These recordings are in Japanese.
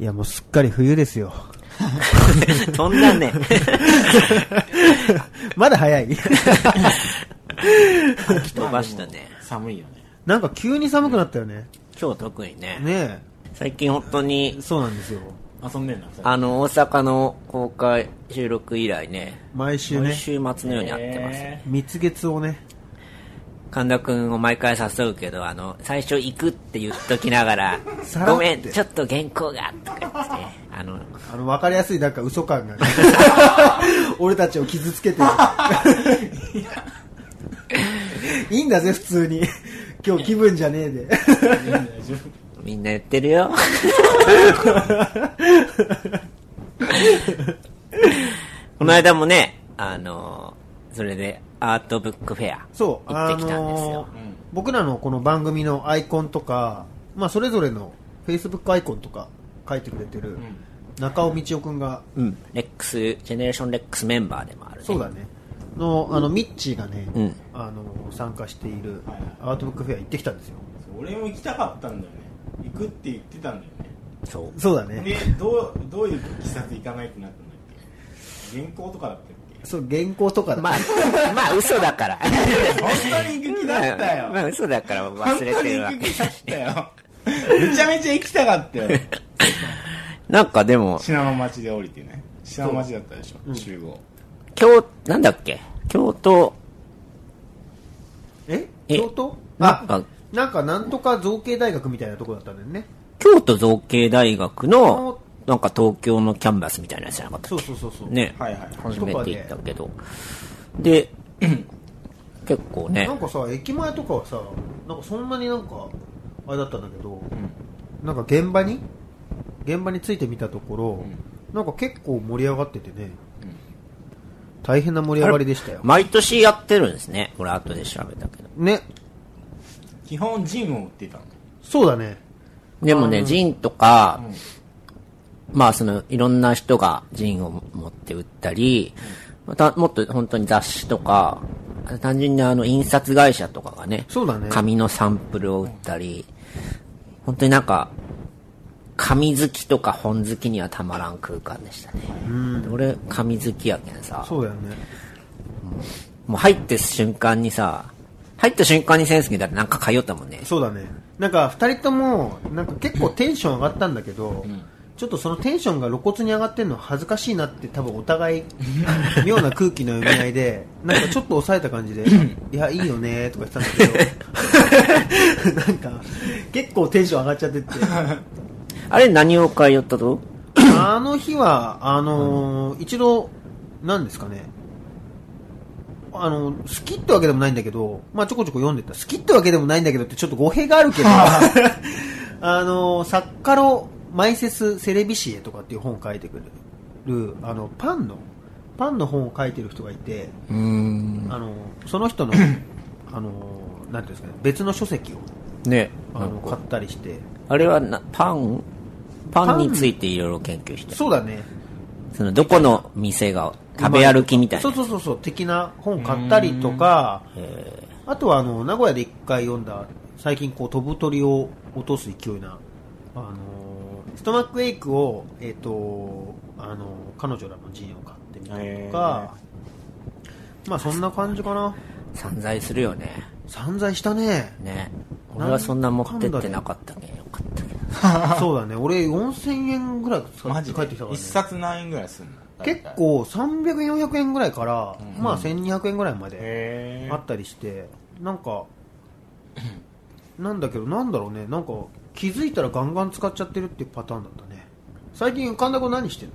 いやもうすっかり冬です よ。飛んだ ね。まだ早い。 吹き飛ばしたね。寒いよね。なんか急に寒くなったよね。今日特にね。ね最近本当え。に、そうなんですよ。遊んでんな、それあの、大阪の公開収録以来ね、毎週毎ね、週末のように会ってます。へ蜜月をね、神田くんを毎回誘うけど、あの、最初行くって言っときながら、 さらってごめん、ちょっと原稿が、とか言って、あの、あの、わかりやすいなんか嘘感が ね、俺たちを傷つけてる。いいんだぜ、普通に。今日気分じゃねえで。ー大丈夫みんな言ってる よ。この間もね、あの、それでアートブックフェア。そう、行ってきたんですあのよー僕らのこの番組のアイコンとか、まあ、それぞれの Facebook アイコンとか書いてくれてる中尾道夫君が、うん。レックス、ジェネレーションレックスメンバーでもあるね。そうだね、の、あの、ミッチーがね、うんあのー参加しているアートブックフェア行ってきたんですよ。俺も行きたかったんだよね。行くって言ってたんだよね。そう。そうだでね。どうどういう喫茶店行かないってなったんだっけ原稿とかだったっそう、原稿とかだ、まあ、まあ 嘘だから。け本当に行く気だったよまあ嘘だから本忘当れてにるわ行くけ。気だったよめちゃめちゃ行きたかったよなんかでも、信濃町で降りてね信濃町だったでしょ集合京、なんだっけ京都、ええ京都なんかあ、なんかなんとか造形大学みたいなとこだったんだよね。京都造形大学のの、なんか東京のキャンバスみたいなやつじゃなかったそっうそうそうそう。けね。はいはい初めて行ったけど。で、 結構ねな、んかさ、駅前とかはさ、なんかそんなになんか、あれだったんだけど、なんか現場に、現場についてみたところ、なんか結構盛り上がっててね、大変な盛り上がりでしたよ。毎年やってるんですね。これ後で調べたけど。ね、基本ジムを売ってたのそうだね。でもね、ジンとか、まあその、いろんな人がジンを持って売ったり、またもっと本当に雑誌とか、単純にあの、印刷会社とかがね、そうだね紙のサンプルを売ったり、本当になんか、紙好きとか本好きにはたまらん空間でしたね。俺、紙好きやけんさ、そうだよね。もう入って瞬間にさ、入った瞬間にセンスだってなんか通ったもんね。そうだね。なんか二人とも、なんか結構テンション上がったんだけど、ちょっとそのテンションが露骨に上がってるの恥ずかしいなって多分お互い妙な空気の読み合いでなんかちょっと抑えた感じで「いやいいよね」とか言ってたんだけどなんか結構テンション上がっちゃってってあれ何を通ったとあの日はあのー一度何ですかねあの好きってわけでもないんだけど、まあ、ちょこちょこ読んでた好きってわけでもないんだけどってちょっと語弊があるけど あの作家のマイセス・セレビシエとかっていう本を書いてくれるあのパンのパンの本を書いてる人がいてうーん。あのその人 のあのなんていうんですか、ね、別の書籍をね。あの買ったりしてあれはなパンパパンンについていろいろ研究してそうだねそのどこの店が食べ歩きみたいそなうそうそうそう的な本買ったりとかあとはあの名古屋で一回読んだ最近こう飛ぶ鳥を落とす勢いなあのストマックエイクを、えっとあの彼女らの陣を買ってみたりとか、まあそんな感じかな散財するよね散財した ねねなん俺はそんな持ってってなかったけどよかったけどそうだね俺4000円ぐらい使マっジて帰でってきたから、ね、一冊何円ぐらいすんの大結体構300円400円ぐらいから、まあ1200円ぐらいまで、へあったりしてなんかなんだけどなんだろうねなんか気づいたらガンガン使っちゃってるっていうパターンだったね最近神田君何してる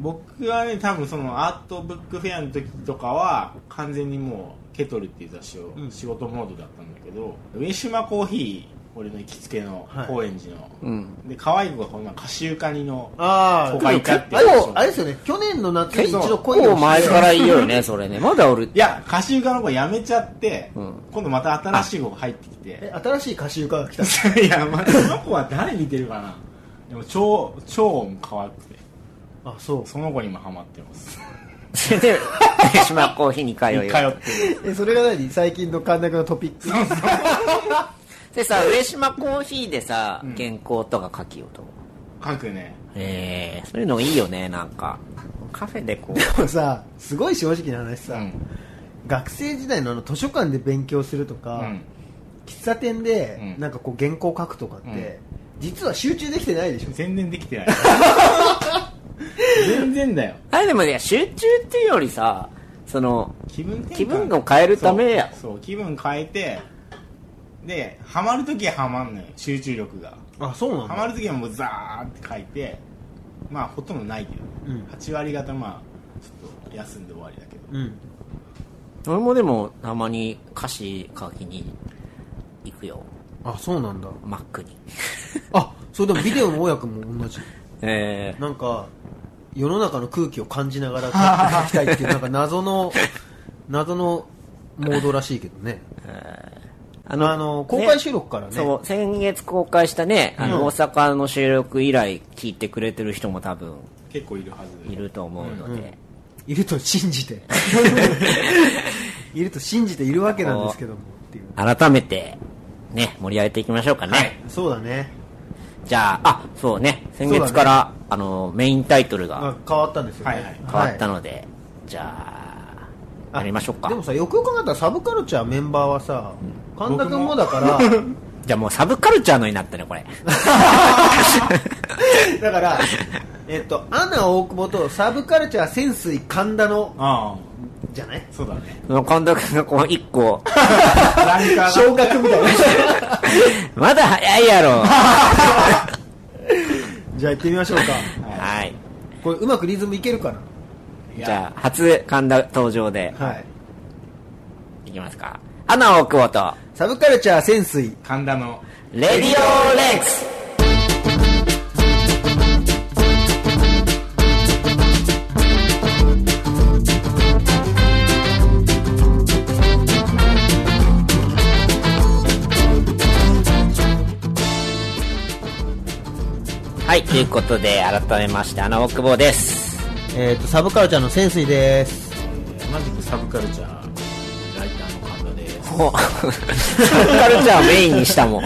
僕はね多分そのアートブックフェアの時とかは完全にもうケトルっていう雑誌をうん仕事モードだったんだけど、上島コーヒー俺の行きつけのはい高円寺の、うんで可愛い子がこの前カシウカニのあー結構あれですよね去年の夏に一度恋結を構前から言うよ ねそれねまだ俺いやカシウカの子やめちゃって、うん今度また新しい子が入ってきてえ新しい歌手が来た いや、まあ、その子は誰見てるかなでも超超可愛くてあそうその子にもハマってますそれで上島コーヒーに通う通よってるえそれが何最近の神田君のトピックでさ上島コーヒーでさ原稿とか書きようと思う書くね。ええそういうのいいよね、なんか。カフェでこう。でもさ、すごい正直な話うさ、ん。学生時代のあの図書館で勉強するとうか、ん。喫茶店でうんなんかこう原稿書くとかって、うん実は集中できてないでしょ。全然できてない。全然だよ。あれでもね、集中っていうよりさ、その、気分転換気分を変えるためやそうそう気分変えてでハマるときはハマんのよ集中力があ、そうなハマるときはもうザーって書いてまあほとんどないけど、うん8割方まあちょっと休んで終わりだけどうん。俺もでもたまに歌詞書きに行くよ。あ、そうなんだ。マックに。あ、それでもビデオの親君も同じ。えなんか、世の中の空気を感じながら書きたいっていう、なんか謎の、謎のモードらしいけどね。ーああの、公開収録からね。そう、先月公開したね、あうんの、大阪の収録以来聞いてくれてる人も多分結構いるはずいると思うので、いると信じ て。いると信じているわけなんですけども、っていう。改めて、ね、盛り上げていきましょうかね。そうだね。じゃあ、あ、そうね、先月から、あの、メインタイトルがあ変わったんですよね。はいはい変わったの。ので、じゃあ、やりましょうかで。もさ、よくよく考えたらサブカルチャーメンバーはさ、神田君もだ から、じゃあもうサブカルチャーのになったね、これ。 だから、えっと、アナ大久保とサブカルチャー潜水神田の、ああじゃないそうだねその近藤君がこう一個、ランカー昇格みた いな。 まだ早いやろ。じゃあ行ってみましょうか。はい。これうまくリズムいけるかなじゃあ、初神田登場ではい。いきますか。アナ大久保と、サブカルチャー潜水。神田のレディオレックスはい、ということで、改めまして、アナ大久保です。えっ、と、サブカルチャーの潜水です。同じくサブカルチャーライターの神田で すほサブカルチャーをメインにした もん。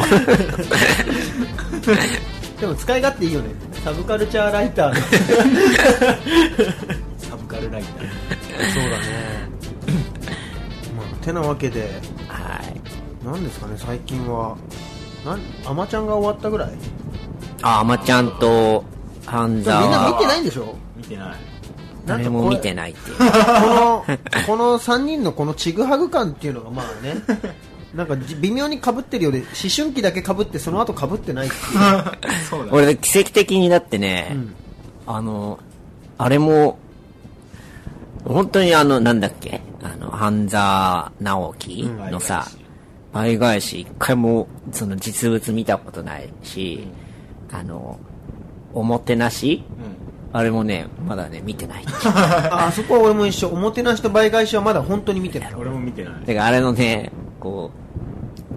でも使い勝手いいよね。サブカルチャーライターの。 そうサブカルライターだね。まあ、てなわけで、はい。何ですかね、最近は。なん、アマちゃんが終わったぐらいあ、まちゃんと、半でも沢みんなは見てないんでしょ見てないなん誰かもこれ見てないっていう。この、この3人のこのちぐはぐ感っていうのがまあね、なんかじ微妙に被ってるようで、思春期だけ被って、その後被ってないっていう。 そうだ ね俺、奇跡的にだってね、んあの、あれも、本当にあの、なんだっけ、あの、半沢直樹のさ、倍返し、一回も、その実物見たことないし、あの、おもてなし、あれもね、まだね、見て ない。ああそこは俺も一緒。おもてなしと倍返しはまだ本当に見てないうん。俺も見てないてか、あれのね、こ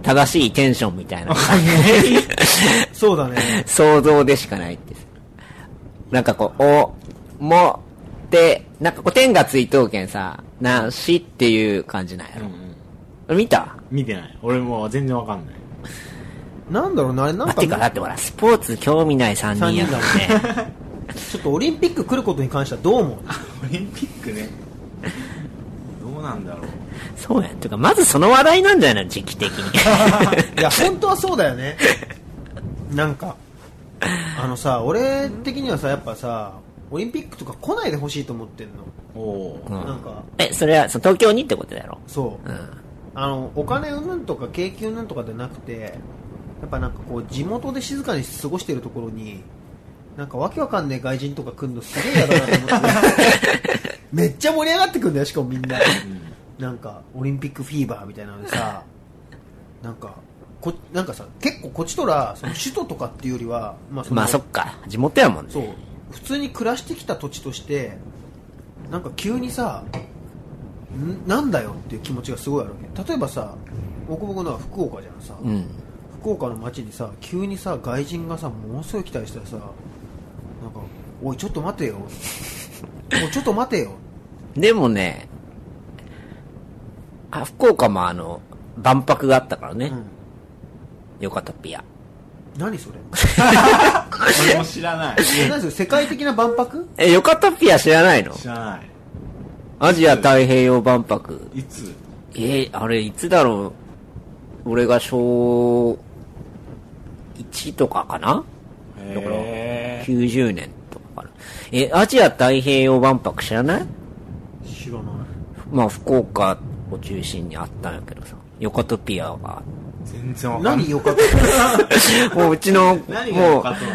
う、正しいテンションみたいなのが、そうだね。想像でしかないって。なんかこう、お、も、で、なんかこう、天がついとうけんさ、なしっていう感じなんやうんろ。うん見た見てない俺もう全然わかんないなんだろうな、あれなあ、んかてか、だってほら、スポーツ興味ない3人やからね。 ちょっとオリンピック来ることに関してはどう思う オリンピックね どうなんだろう そうやん。てか、まずその話題なんじゃないの時期的に。いや、本当はそうだよね。なんか、あのさ、俺的にはさ、やっぱさ、オリンピックとか来ないでほしいと思ってんの。おおうんなんか、え、それは、その東京にってことだろ。そうう。ん。あの、お金うんぬんとか景気うんぬんとかじゃなくて、やっぱなんかこう、地元で静かに過ごしてるところに、なんかわけわかんねえ外人とか来んのすげえ嫌だなと思っ て。めっちゃ盛り上がってくんだよ、しかもみんな。なんかオリンピックフィーバーみたいなのでさなんかこなんかさ結構こっちとらその首都とかっていうよりは、まあそのまあ、そっか。地元やもんね。そう普通に暮らしてきた土地としてなんか急にさんなんだよっていう気持ちがすごいあるわけ例えばさ大久保君のは福岡じゃんさ、うん。福岡の街にさ急にさ外人がさものすごい来たりしたらさなんか「おいちょっと待てよ」「おいちょっと待てよ」でもね、あ、福岡もあの、万博があったからね。うん よかったっぴや。何それ俺も知らない。何ですか世界的な万博え、ヨカトピア知らないの知らなアジア太平洋万博。い。いつえーあれ、いつだろう俺が小1とかかなだからへー ?90 年とかかな。え、アジア太平洋万博知らない知らない。まあ、福岡を中心にあったんやけどさ。ヨカトピア が。全然わかんない。何よかった。もううちの、何がも良うか、ったの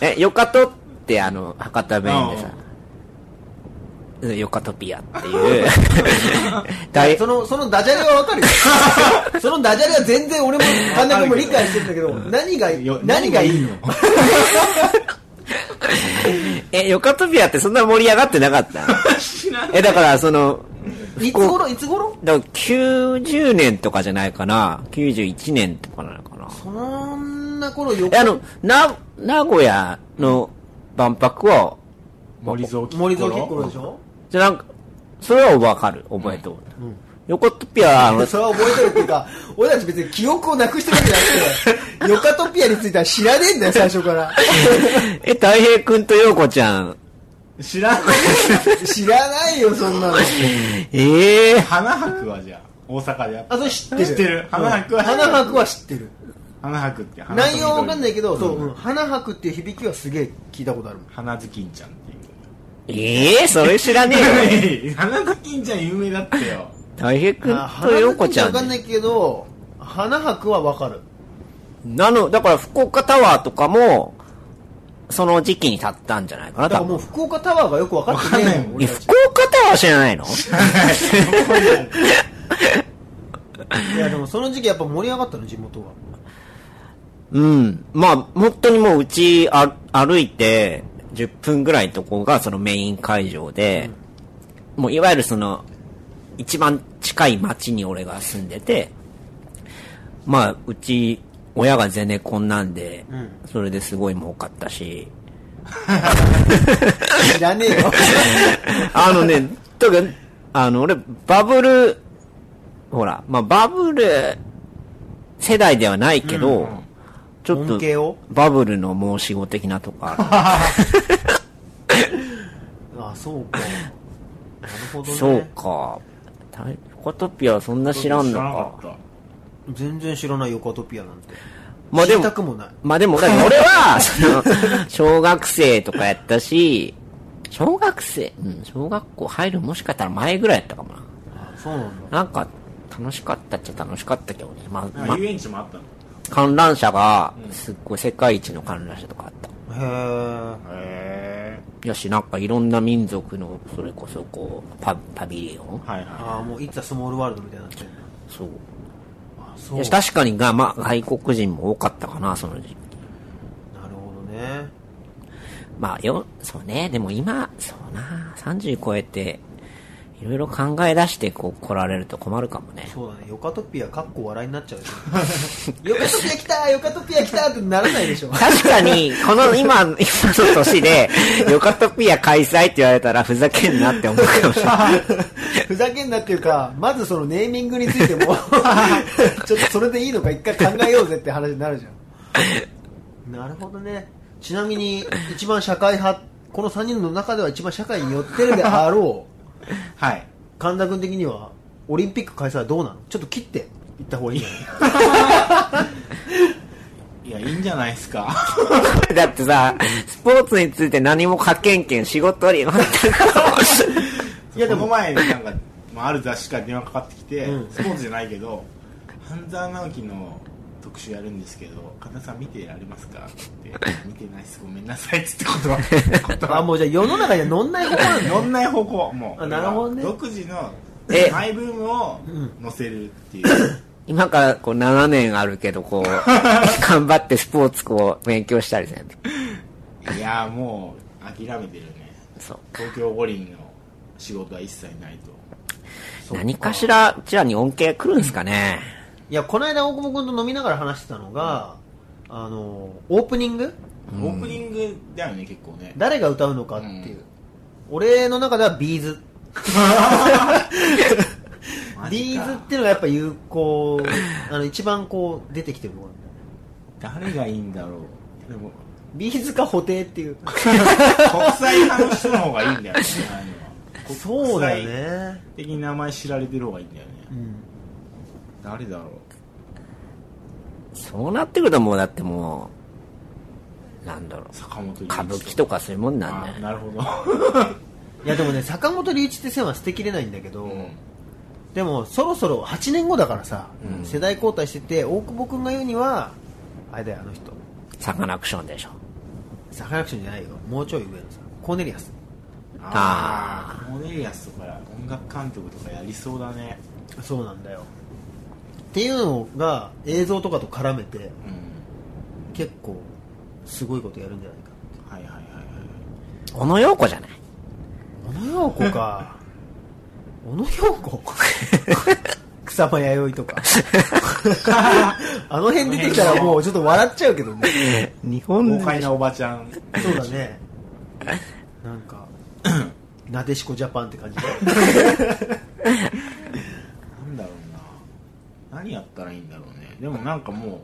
え、ヨカトってあの、博多弁でさ、うんヨカトピアって いう、大そ、の、そのダジャレはわかる よ。そのダジャレは全然俺も神田君も理解してるんだけど、何が、よ何がいいののえ、ヨカトピアってそんな盛り上がってなかったえ、だからその、いつ頃いつ頃だから90年とかじゃないかな、91年とかなのかな。そんな頃よえ、あの、な、名古屋の万博は、森蔵吉森蔵結構でしょじゃなんか、それはわかる、覚えておる。ヨカトピアは、あ の、それは覚えてるっていう か、俺たち別に記憶をなくしてるわけじゃなくて、ヨカトピアについては知らねえん だよ、最初から。え、太平くんとヨーコちゃん、知らない。知らないよ、そんなの。ええ花博はじゃあ、大阪でやっあ、た。それ知ってる。知ってる花博は知ってる花博は知ってる。花博って花。内容はわかんないいけど、そう、うん花博っていう響きはすげえ聞いたことあるもん。花ずきんちゃんっていう。ええそれ知らねえ よ。 花ずきんちゃん有名だった よ。大平くあんとヨコちゃ花博ってわかんんなね。いけど、花博はわかる。なの、だから福岡タワーとかも、その時期に建ったんじゃないかな、だか多らも分。う福岡タワーがよくわかってねえもん、俺いや、たち福岡タワー知らないのいや、でもその時期やっぱ盛り上がったの、地元は。うん。まあ、本当にもううちあ歩いて10分ぐらいのとこがそのメイン会場で、もういわゆるその、一番近い町に俺が住んでて、まあ、うち、親がゼネコンなんで、んそれですごい儲かったし、知らねえよ。 あのね、とか、あの、俺、バブル、ほら、まあ、バブル世代ではないけど、 ちょっ恩恵とを、バブルの申し子的なと かあ、そうか。なるほどね。そうか。タイコトピアはそんな知らんのか。か全然知らないヨカトピアなんて。まあ知でりもた、くもない。まあでも、だから俺は、 その、小学生とかやったし、小学生、うん、小学校入るもしかしたら前ぐらいやったかもな。あそうなんだ。なんか、楽しかったっちゃ楽しかったけどね。まあ、なまんかあ遊園地もあったの。観覧車が、すっごい世界一の観覧車とかあった。へーへよし、なんかいろんな民族の、それこそこう、パパビリオンーはいはあもういつはスモールワールドみたいになってんだ。そう。あ、そう。よしなる確かにが、まあ、外国人も多かったかな、その時期。ほどね。まあよ、そうね、でも今、そうな、30超えて、いろいろ考え出してこう来られると困るかもね。そうだね。ヨカトピア、かっこ笑いになっちゃうよ。 ヨカトピア来たーヨカトピア来たーってならないでしょ。確かに、この今、今の年で、ヨカトピア開催って言われたらふざけんなって思うかもしれない。 ふざけんなっていうか、まずそのネーミングについても、 ちょっとそれでいいのか一回考えようぜって話になるじゃん。なるほどね。ちなみに、一番社会派、この3人の中では一番社会に寄ってるであろ う、い。はい。神田君的には、オリンピック開催はどうなのちょっと切っていった方がいいんじゃないいや、いいんじゃないですか。 だってさ、スポーツについて何も書けんけん、仕事に全く。いやでもこの前なんか、まあ、ある雑誌から電話かかってきて、うんスポーツじゃないけど半沢直樹の特集やるんですけど神田さん見てられますかって言って見てないですごめんなさいっつって断って あ、もうじゃあ世の中には乗んない方なんだ乗んない方向もうあなるほどね独自のえマイブームを乗せるっていう、今からこう7年あるけど、こう、頑張ってスポーツこう勉強したりする。いやもう諦めてるねそう。東京五輪の仕事は一切ないと何かしら、うちらに恩恵来るんすかね。いや、この間大久保君と飲みながら話してたのが、あの、オープニングオープニングだよね結構ね誰が歌うのかっていうう。ん俺の中ではビーズ。マジビーズっかていうのがやっぱ有効、あの一番こう出てきてるもの。 誰がいいんだろうでもビーズか補定っていう。国際派の人の方がいいんだよねああいうのはそうだよね。国際的に名前知られてる方がいいんだよねうん。誰だろうそうなってくるともうだってもう、なんだろう。坂本龍一歌舞伎とかそういうもんなんだあよあね。なるほど、いやでもね、坂本龍一って線は捨てきれないんだけど、でもそろそろ8年後だからさ、うん世代交代してて、大久保君が言うには、あれだよ、あの人。サカナクションでしょ。サカナクションじゃないよ。もうちょい上のさ、コーネリアス。ああコーネリアスとか音楽監督とかやりそうだねそうなんだよ。っていうのが映像とかと絡めて、うん結構すごいことやるんじゃないか。はいはいはいはい小野洋子じゃない小野陽子か。 小野陽子草間弥生と か。あの辺出てきたらもうちょっと笑っちゃうけどね。日本豪快なおばちゃんそうだね。なんか、 なでしこジャパンって感じだよなんだろうな何やったらいいんだろうねでもなんかも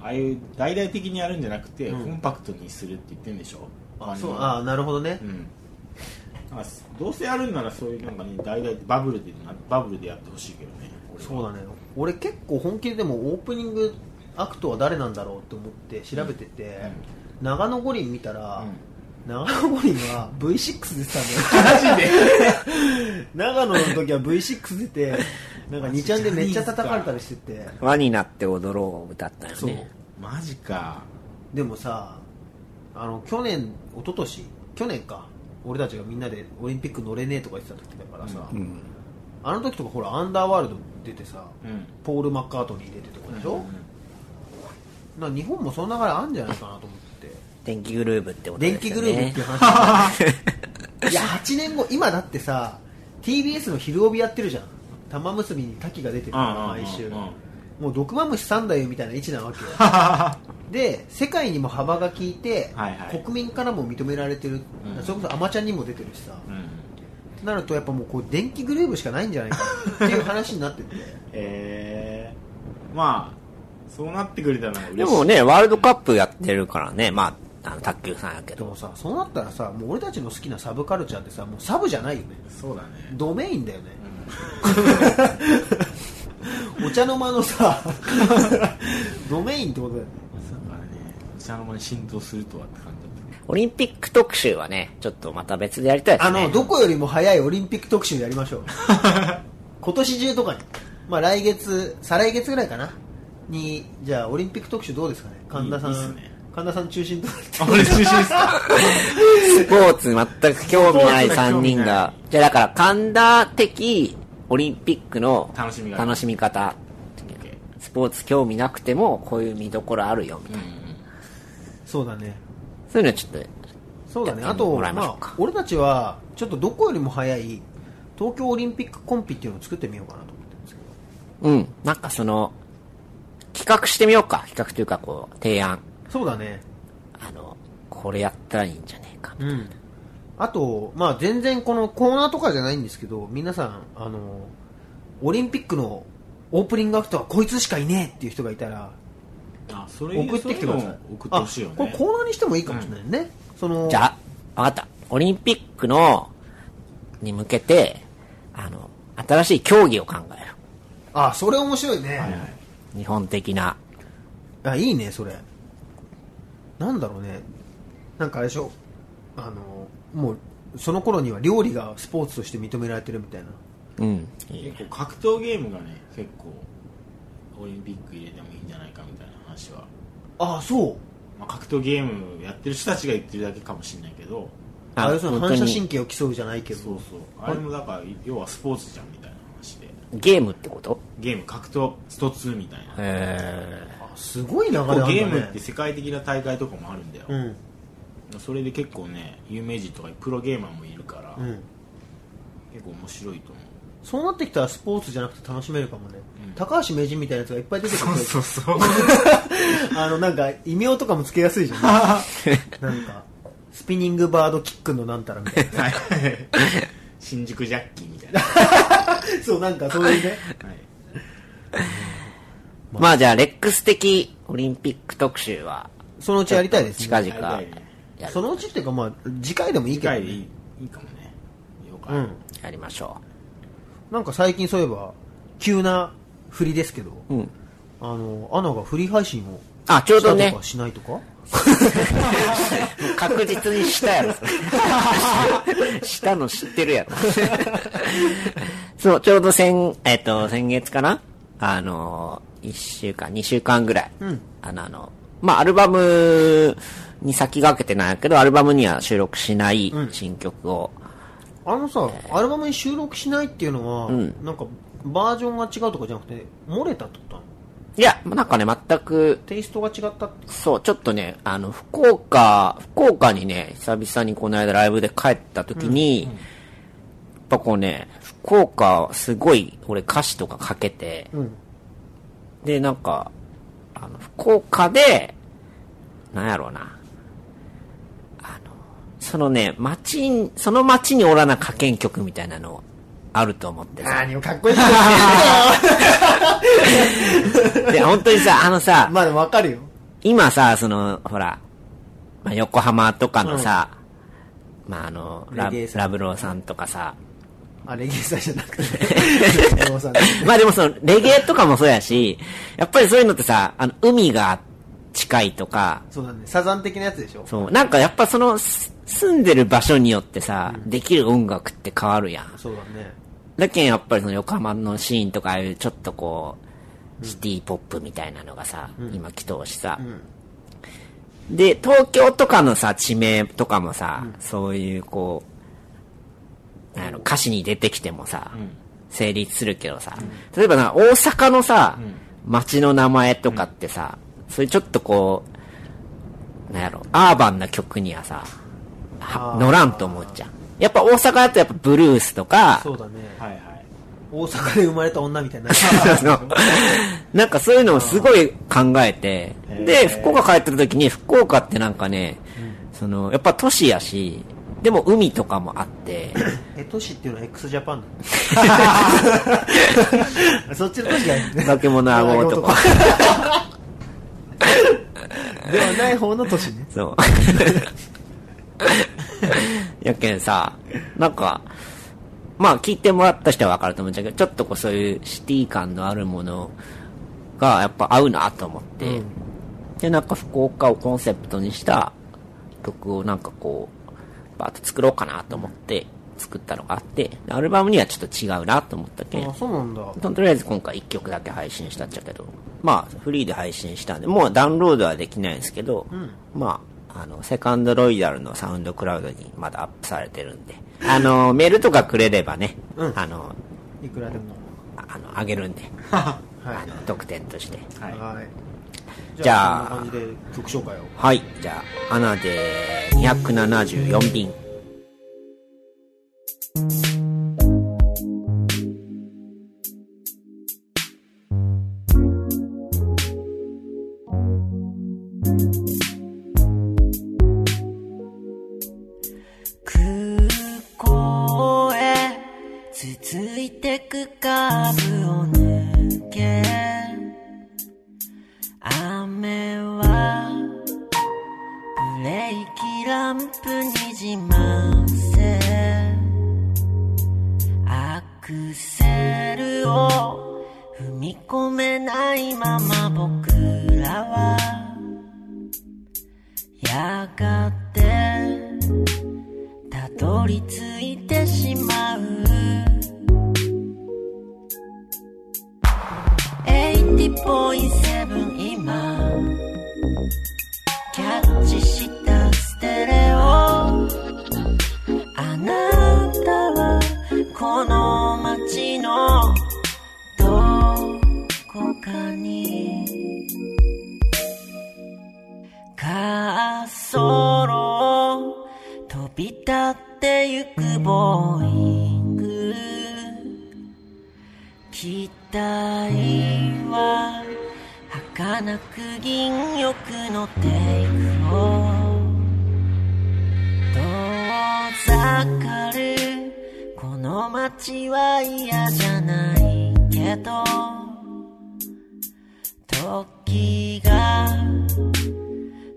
うああいう大々的にやるんじゃなくて、うんコンパクトにするって言ってんでしょあ、そう、ああなるほどねう。んなんかどうせやるんならそういうなんかね大々バブルでなバブルでやってほしいけどね俺はそうだね。俺結構本気ででもオープニングアクトは誰なんだろうって思って調べてて、長野五輪見たら、長野五輪は V6 出てたんだよ。マジで 長野の時は V6 出て、なんか2ちゃんでめっちゃ叩かれたりしてて、輪になって踊ろうを歌ったよそう。ね。マジかでもさ、あの、去年、一昨年去年か、俺たちがみんなでオリンピック乗れねえとか言ってた時だからさ、うん。あの時とかほら、アンダーワールド出てさ、うんポール・マッカートニー出てとかでしょ、な日本もその流れあんじゃないかなと思って、電気グルーブってこと電です気よグね。ループ っていう話だよね いや、8年後、今だってさ、TBS の昼帯やってるじゃん。玉結びに滝が出てるから、毎週。うんうんうんうんもう毒マムシ三代みたいな位置なわけよ で世界にも幅が利いて、はいはい国民からも認められてる、うんそれこそアマちゃんにも出てるしさ、うんなるとやっぱもうこう電気グルーブしかないんじゃないかっていう話になっててえー、まあそうなってくれたら嬉しいでもね、ワールドカップやってるからね、まあ、あの、卓球さんやけでど。もさそうなったらさもう俺たちの好きなサブカルチャーってさもうサブじゃないよねそうだねドメインだよねう、んお茶の間のさドメインってことだよねまさかねお茶の間に浸透するとはって感じだったねオリンピック特集はね、ちょっとまた別でやりたいであすね。の、どこよりも早いオリンピック特集やりましょう。今年中とかに。まあ来月、再来月ぐらいかな。に、じゃあオリンピック特集どうですかね神田さん。いいっすね神田さん中心となあ俺中心です かスポーツ全く興味ないスポーツ全く興3味人ないが。じゃあだから、神田的オリンピックの楽しみ方楽しみ方。スポーツ興味なくても、こういう見どころあるよ、みたいな。そうだね。そういうのちょっと、そうだね。やあってと、もまらいましょうかあ、俺たちは、ちょっとどこよりも早い、東京オリンピックコンピっていうのを作ってみようかなと思ってるんですけど。うん。なんかその、企画してみようか。企画というか、こう、提案。そうだね。あの、これやったらいいんじゃねえか。うん、あと、まあ、全然このコーナーとかじゃないんですけど皆さんあのオリンピックのオープニングアクトはこいつしかいねえっていう人がいたらあそれ送ってきてくださいそううの送ってほしいよあこれねコーナーにしてもいいかもしれないね、そのじゃあ、わかった。オリンピックの、に向けて、あの、新しい競技を考える。あそれ面白いね、はいいはい日本的な。あいいねそれなんだろうねなんかあれでしょあのもうその頃には料理がスポーツとして認められてるみたいなうん。結構格闘ゲームがね結構オリンピック入れてもいいんじゃないかみたいな話は、あそうまあ、格闘ゲームやってる人たちが言ってるだけかもしれないけどあれその反射神に、経を競うじゃないけどそうそうあれもだから要はスポーツじゃんみたいな話でゲームってことゲーム格闘スト2みたいなえあすごい流れあこるんうだ、ね、ゲームって世界的な大会とかもあるんだよ、うんそれで結構ね有名人とかプロゲーマーもいるから、うん結構面白い と思うそうなってきたらスポーツじゃなくて楽しめるかもね、うん高橋名人みたいなやつがいっぱい出てくるう そうあのなんか異名とかもつけやすいじゃんなんかスピニングバードキックのなんたらみたいな新宿ジャッキーみたいな、はそうなんかそういうねい、ーまあじゃあ、レックス的オリンピック特集は、そのうちやりたいですね。近やり々たいねやるそのうちっていうか、まあ、次回でもいい次けど、回でいねい。いいかもね了解、うん。やりましょなんか最近そういえば、急な振りですけど、う。うん。あの、アナが振り配信をあ、ちょうどしたねとか、しないとか、確実にしたやろ。したの知ってるやろ。そう、ちょうど先、えっ、と、先月かなあの、1週間、2週間ぐらい。あの、あの、まあ、アルバムに先駆けてないけど、アルバムには収録しない新曲を、あのさ、アルバムに収録しないっていうのは、なんか、バージョンが違うとかじゃなくて、漏れたってことなのいや、なんかね、全くテイストが違ったって。そう、ちょっとね、あの、福岡、福岡にね、久々にこの間ライブで帰った時に、やっぱこうね、福岡、すごい、俺歌詞とかかけて、んで、なんか、あの、福岡で、なんやろうな、あの、そのね、街に、その街におらな書けん曲みたいなの、あると思っ てさ。何をかっこいいで、本当にさ、あのさ、まあでもわかるよ。今さ、その、ほら、まあ、横浜とかのさ、まあ、あの、ラレゲエさんラブローさんとかさ、 あ、レゲエさんじゃなくて。レゲエさんまあでもその、レゲエとかもそうやし、やっぱりそういうのってさ、あの、海が近いとか、 そうだね。サザン的なやつでしょ。そう、なんかやっぱその、す住んでる場所によってさ、できる音楽って変わるやん。そうだね。だけんやっぱりその横浜のシーンとかああいうちょっとこう、シティポップみたいなのがさ、今来とうしさ、で東京とかのさ地名とかもさ、そういうこうあの歌詞に出てきてもさ、成立するけどさ、例えばな大阪のさ、街の名前とかってさ、そういうちょっとこうなんやろアーバンな曲にはさはあー乗らんと思っちゃうやっぱ大阪だとやっぱブルースとかそうだね。はいはい大阪で生まれた女みた いな。そのなんかそういうのをすごい考えて、で、福岡帰ってた時に、福岡ってなんかね、その、やっぱ都市やし、でも海とかもあって、え、都市っていうのは x ジャパンな のそっちの都市がいいね。化け物 あごとか。ではない方の都市ね。そう。 やけんさ、なんか、まあ聞いてもらった人はわかると思うんだけど、ちょっとこうそういうシティ感のあるものがやっぱ合うなと思って、で、なんか福岡をコンセプトにした曲をなんかこう、バーッと作ろうかなと思って作ったのがあって、でアルバムにはちょっと違うなと思ったけんあ、、そうなんだ。ととりあえず今回1曲だけ配信したっちゃけど、まあ、フリーで配信したんで、もうダウンロードはできないんですけど、まあ、あの、セカンドロイヤルのサウンドクラウドにまだアップされてるんで、あの、 メールとかくれればね、うんあの、いくらでも。ああの、あげるんで、は。あの、特典として。はいいはい。じゃあそんな感じで曲紹介を。はい、じゃあ、アナで274便。空港へ続いてくカーブを抜け雨はブレーキランプにじませアクセルを踏み込めないまま僕らはやがてたどり着いてしまう80.7今キャッチしたステレオあなたはこの街のどこかに滑走路を飛び立ってゆくボーイング期待は儚く銀翼のテイクを遠ざかるこの街は嫌じゃないけど時が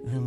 生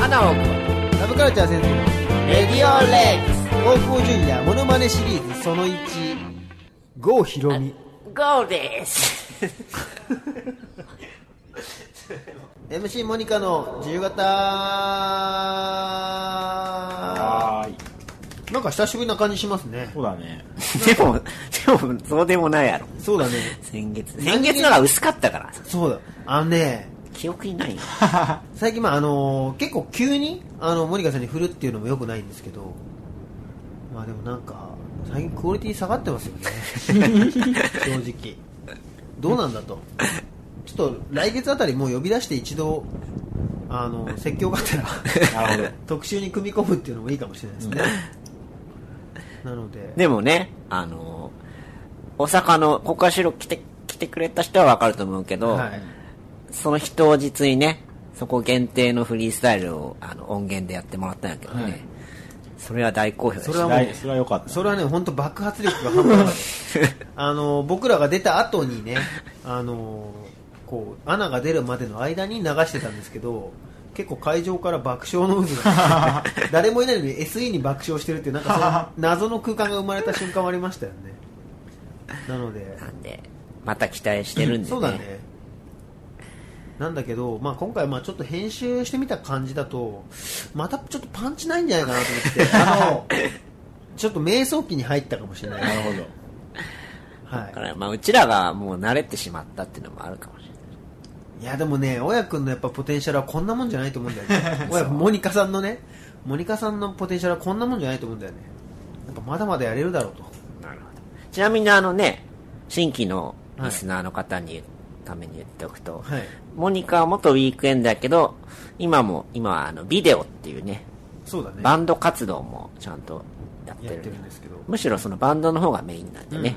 アナログラブカルチャー先生のレディオレックス高校ジュニアモノマネシリーズその1郷ひろみゴーです MC モニカの自由形なはーい。んか久しぶりな感じしますねそうだね。でもでもそうでもないやろそうだね先月先月のが薄かったからそうだあのね記憶にないよ最近まああの結構急にあのモニカさんに振るっていうのもよくないんですけどまあでもなんか最近クオリティ下がってますよね正直どうなんだとちょっと来月あたりもう呼び出して一度あの説教があったらなるほど。特集に組み込むっていうのもいいかもしれないですね、なのででもね、あのー大阪の国家収録来て、来てくれた人はわかると思うけど、はい、その日当日にね、そこ限定のフリースタイルをあの音源でやってもらったんやけどね、はいそれは大好評でそしれはた。もう辛いそれは良かった。それはね本当爆発力が半端なかったあの僕らが出た後にねあのこう穴が出るまでの間に流してたんですけど結構会場から爆笑の渦が誰もいないのに SE に爆笑してるっていうなんかその謎の空間が生まれた瞬間もありましたよねなのでなんで、また期待してるんで、ね。そうだねなんだけど、まあ、今回まあちょっと編集してみた感じだとまたちょっとパンチないんじゃないかなと思って あのちょっと迷走期に入ったかもしれない、なるほど。はだから、まあ、うちらがもう慣れてしまったっていうのもあるかもしれない。い、いやでもね親君のやっぱポテンシャルはこんなもんじゃないと思うんだよ ね親君モニカさんのねモニカさんのポテンシャルはこんなもんじゃないと思うんだよねやっぱまだまだやれるだろうとなるほど。ちなみにあのね、新規のリスナーの方に、ために言っておくと、はいモニカは元ウィークエンドやけど、今も、今はあの、ビデオっていうね、そうだねバンド活動もちゃんとやってやっるてるんですけどむしろそのバンドの方がメインなんでね、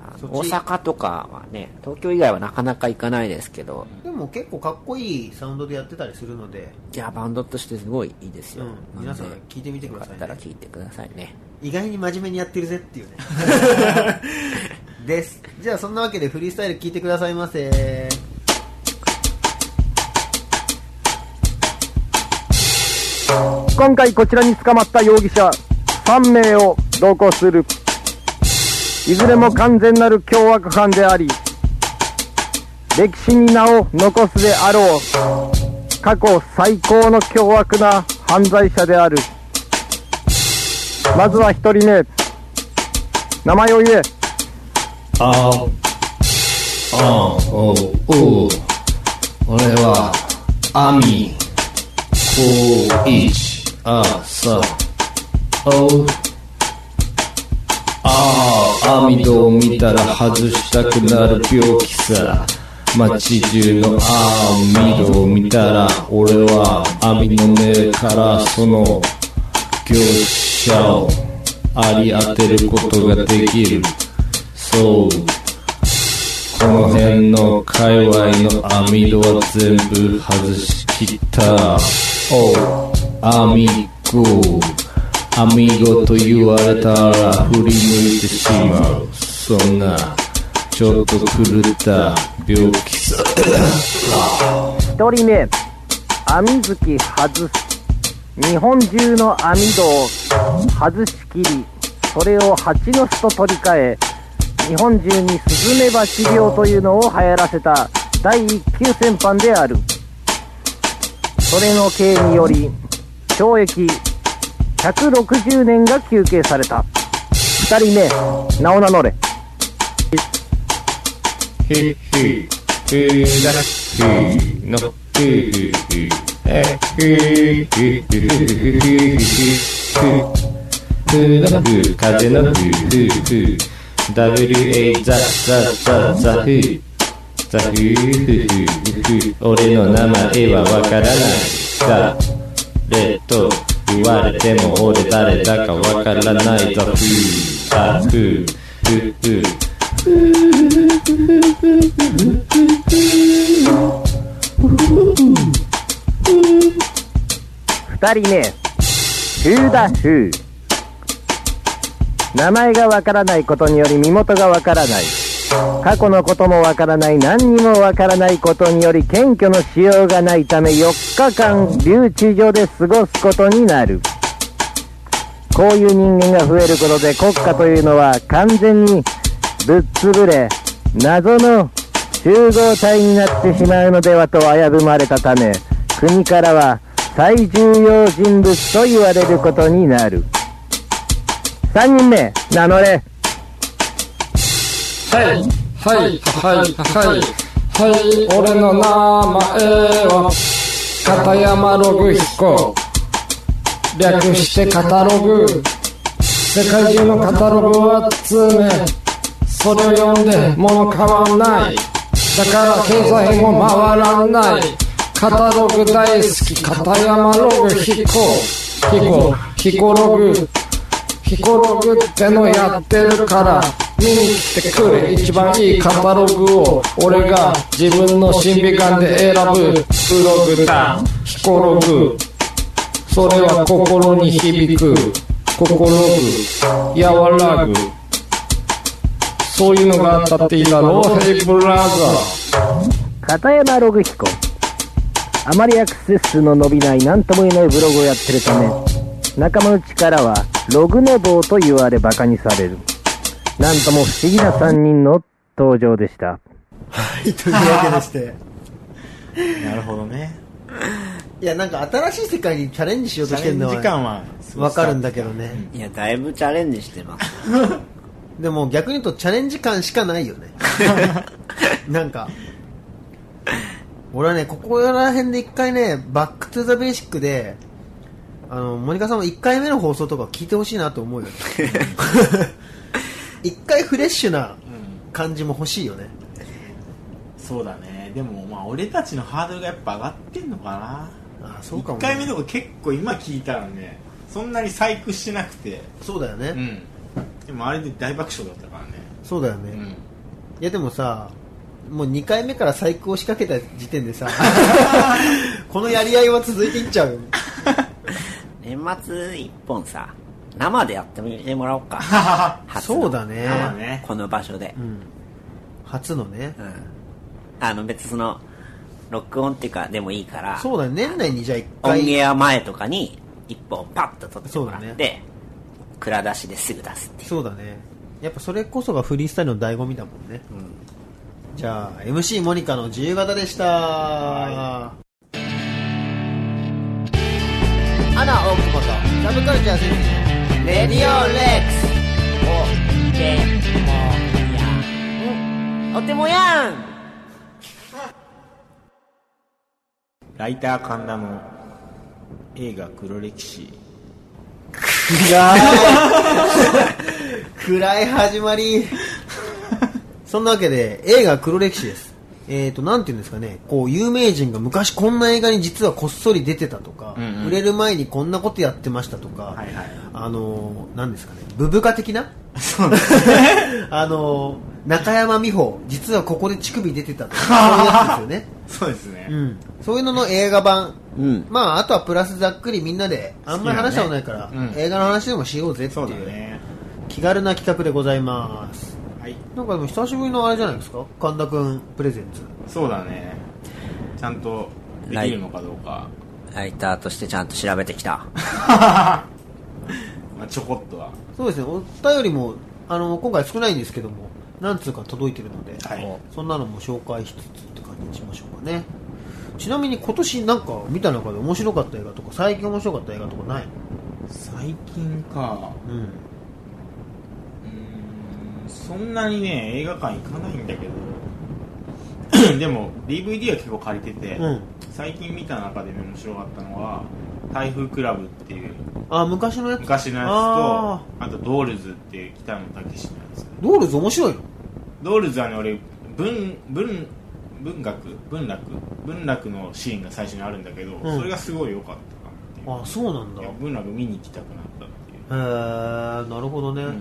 あのそっ大ち阪とかはね東京以外はなかなか行かないですけど、でも結構かっこいいサウンドでやってたりするのでいやバンドとしてすごいいいですよ、うんなんで皆さん聞いてみてくださいねよかったら聞いてくださいね意外に真面目にやってるぜって いうねですじゃあそんなわけでフリースタイル聞いてくださいませ今回こちらに捕まった容疑者3名を同行するいずれも完全なる凶悪犯であり歴史に名を残すであろう過去最高の凶悪な犯罪者であるまずは1人目名前を言えああおうおう俺はアミ高一あさおうああ網戸を見たら外したくなる病気さ街中の網戸を見たら俺は網の目からその業者をあり当てることができるそうこの辺の界隈の網戸は全部外しきったおうアミゴアミゴと言われたら振り向いてしまうそんなちょっと狂った病気さ1人目網好き外す日本中の網戸を外しきりそれを蜂の巣と取り替え日本中にスズメバチ病というのを流行らせた第一級戦犯であるそれの刑により懲役160年が求刑された2人目名を名乗れへへへらへのへへへへへへへへふのふ風のふふふ WA ザザザザふザふふふふ俺の名前はわからないザレと言われても俺誰だかわからないザふザふふふ2人目フーダフー名前がわからないことにより身元がわからない過去のこともわからない何にもわからないことにより謙虚のしようがないため4日間留置所で過ごすことになるこういう人間が増えることで国家というのは完全にぶっ潰れ謎の集合体になってしまうのではと危ぶまれたため国からは最重要人物と言われることになる3人目名乗れはい、はい、はい、はい、はい、俺の名前は、片山ログ彦。略してカタログ。世界中のカタログを集め、それを読んで物変わんない。だから経済も回らない。カタログ大好き、片山ログ彦。彦、彦ログ。ヒコログってのやってるから見に来てくれ一番いいカタログを俺が自分の審美眼で選ぶブログだヒコログそれは心に響く心ぐ和らぐそういうのがあったっていいだろうヘイブラザー片山ログ彦あまりアクセス数の伸びない何とも言えないブログをやってるため仲間内からはログネボーと言われバカにされるなんとも不思議な3人の登場でしたはい、というわけでして。なるほどね。 いや、なんか新しい世界にチャレンジしようチとしャてレるンのジは、時間は、わかるんだけどね。いや、だいぶチャレンジしてます。でも逆に言うとチャレンジ感しかないよね。なんか。俺はね、ここら辺で一回ね、バックトゥザベーシックで、あの、モニカさんも一回目の放送とかを聞いてほしいなと思うよ。一回フレッシュな感じも欲しいよね。そうだね。でも、まあ、俺たちのハードルがやっぱ上がってんのかな。あ、そうかも、 1ね。回目とか結構今聞いたらね、そんなに細工してなくて。そうだよね。うん。でもあれで大爆笑だったからね。そうだよね。ういん。や、でもさ、もう2回目から最高を仕掛けた時点でさ、このやり合いは続いていっちゃうよ。年末一本さ、生でやってみてもらおうか。 初のそうだねまあね。この場所でう。ん、初のね、うん。あの、別にその、録音っていうかでもいいから、そうだね年内にじゃあ一オン回エア前とかに一本パッと撮ってもらそっうだて、蔵出しですぐ出すっていう。そうだねやっぱそれこそがフリースタイルの醍醐味だもんね、じゃあ MC モニカの自由形でしたアナ大久保とサブカルチャー選手レディオレおてもやん。おてもやんライター神田の映画黒歴史。暗い始まりそんなわけで映画「黒歴史」ですえー、となんていうんですかねこう有名人が昔こんな映画に実はこっそり出てたとか、うんうん売れる前にこんなことやってましたとか、はいはいあのーなんですかねブブカ的な あのー中山美穂実はここで乳首出てたとかそういうやつですよね そうですね。うん、そういうのの映画版、うんまあ、あとはプラスざっくりみんなであんまり話したことないから、好きなねうん映画の話でもしようぜっていそううだね。気軽な企画でございますはい。なんかでも久しぶりのあれじゃないですか神田くんプレゼンツそうだね。ちゃんとできるのかどうか。ライターとしてちゃんと調べてきた。 まあ、ちょこっとは。そうですねお便りもあの今回少ないんですけども何通か届いてるので、はいそんなのも紹介しつつって感じにしましょうかねちなみに今年なんか見た中で面白かった映画とか最近面白かった映画とかない最近か。うんうーんそんなにね、映画館行かないんだけど。で も、DVD は結構借りてて、うん最近見た中でね面白かったのは、台風クラブっていうあ昔のやつ昔のやつと、ああとドールズっていう北野武のやつ。ドールズ面白いのドールズはね俺文文文学文楽文楽のシーンが最初にあるんだけど、んそれがすごい良かったなあっていうそうなんだいへや文楽見に行きたくなったっていうえー、なるほどね、うん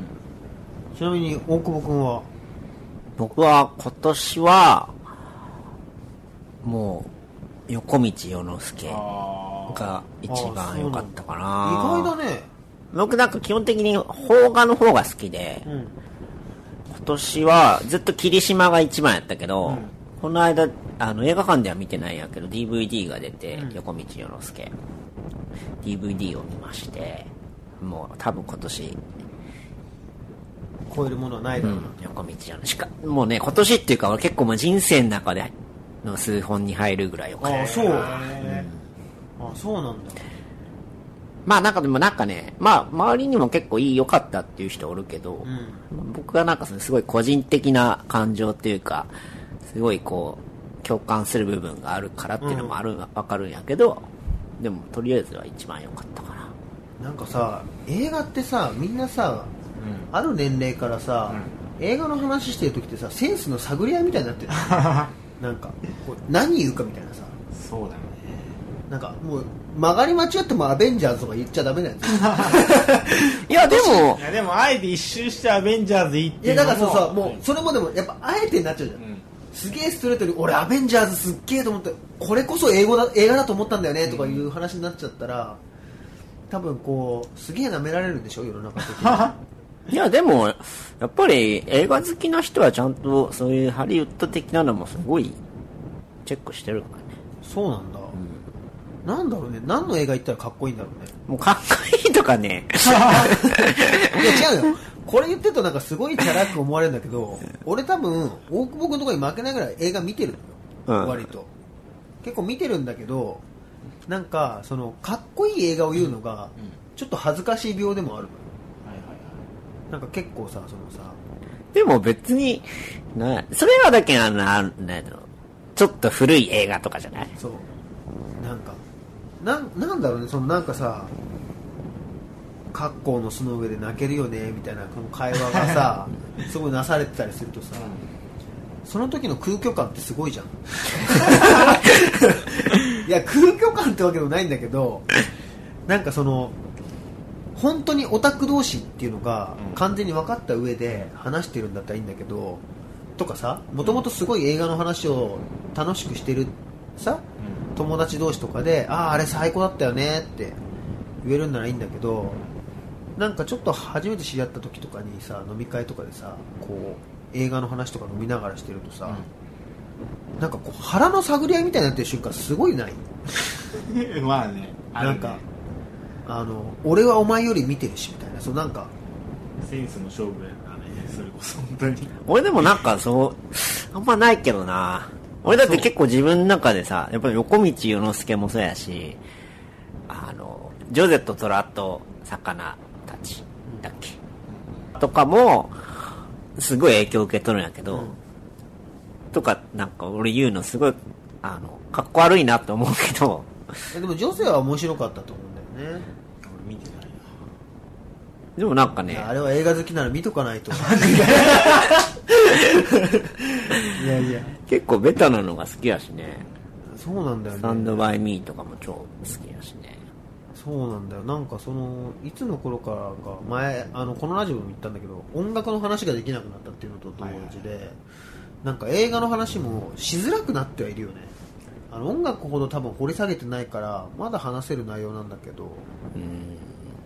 ちなみに大久保くんは僕は今年は、もう、横道世之助あーが一番良かったか意な。外だね僕なんか基本的に邦画の方が好きで、うん今年は、ずっと霧島が一番やったけど、この間、あの、映画館では見てないんやけど、DVD が出て、横道世之助。DVD を見まして、もう多分今年、超えるものはないだろうな。横道世之しか、もうね、今年っていうか、俺結構もう人生の中での数本に入るぐらいよかああ、そう。あうあ、そうなんだ。まあなんかでもなんかね、まあ周りにも結構いい良かったっていう人おるけど、僕はなんかそのすごい個人的な感情っていうか、すごいこう、共感する部分があるからっていうのもある、わかるんやけど、でもとりあえずは一番良かったかな。なんかさ、映画ってさ、みんなさ、ある年齢からさ、映画の話してる時ってさ、センスの探り合いみたいになってる。なんか、こう何言うかみたいなさ。ん そうだねなんかもう曲がり間違ってもアベンジャーズとか言っちゃダメなん ですよいやでもい、やでもあえて一周してアベンジャーズいいっていいやうのだもからそうさもうそれもでもやっぱあえてになっちゃうじゃん、うんすげえストレートに俺アベンジャーズすっげえと思ってこれこそ英語だ映画だと思ったんだよねとかいう話になっちゃったら多分こうすげえ舐められるんでしょ世の中的に いやでも、やっぱり映画好きな人はちゃんとそういうハリウッド的なのもすごいチェックしてるからね。そうなんだ、なんだろうね何の映画行ったらかっこいいんだろ うねもうかっこいいとかね。 いや違うよこれ言ってるとなんかすごいチャラく思われるんだけど俺多分大久保君とかに負けないぐらい映画見てるのよ、うん割と結構見てるんだけどなんかそのかっこいい映画を言うのがちょっと恥ずかしい病でもあるのよはいはいはいなんか結構さそのさでも別に、な、それはだけあの、なんだろう。ちょっと古い映画とかじゃないそうなんかなんなんだろうねそのなんかさ格好の巣の上で泣けるよねみたいなこの会話がさすごいなされてたりするとさ、その時の空虚感ってすごいじゃんいや空虚感ってわけでもないんだけどなんかその本当にオタク同士っていうのがうん完全に分かった上で話してるんだったらいいんだけどとかさもともとすごい映画の話を楽しくしてるさ友達同士とかであああれ最高だったよねって言えるんならいいんだけどなんかちょっと初めて知り合った時とかにさ飲み会とかでさこう映画の話とか飲みながらしてるとさ、なんかこう腹の探り合いみたいになってる瞬間すごいないうんまあねあるなんかあの俺はお前より見てるしみたいなそうなんかセンスの勝負やからねそれこそ本当に俺でもなんかそう、あんまないけどな。俺だって結構自分の中でさ、やっぱり横道世之助もそうやし、あの、ジョゼと虎と魚たちだっけ、とかも、すごい影響受け取るんやけど、とかなんか俺言うのすごい、あの、かっこ悪いなって思うけど、えでも女性は面白かったと思うんだよね俺見てないでもなんかいね、やあれは映画好きなら見とかないと いやいや結構ベタなのが好きやしね。そうなんだよスタンねドバイミーとかも超好きやしね。そうなんだよなんかそのいつの頃からか前あのこのラジオでも言ったんだけど音楽の話ができなくなったっていうのと同時で、なんか映画の話もしづらくなってはいるよねあの音楽ほど多分掘り下げてないからまだ話せる内容なんだけど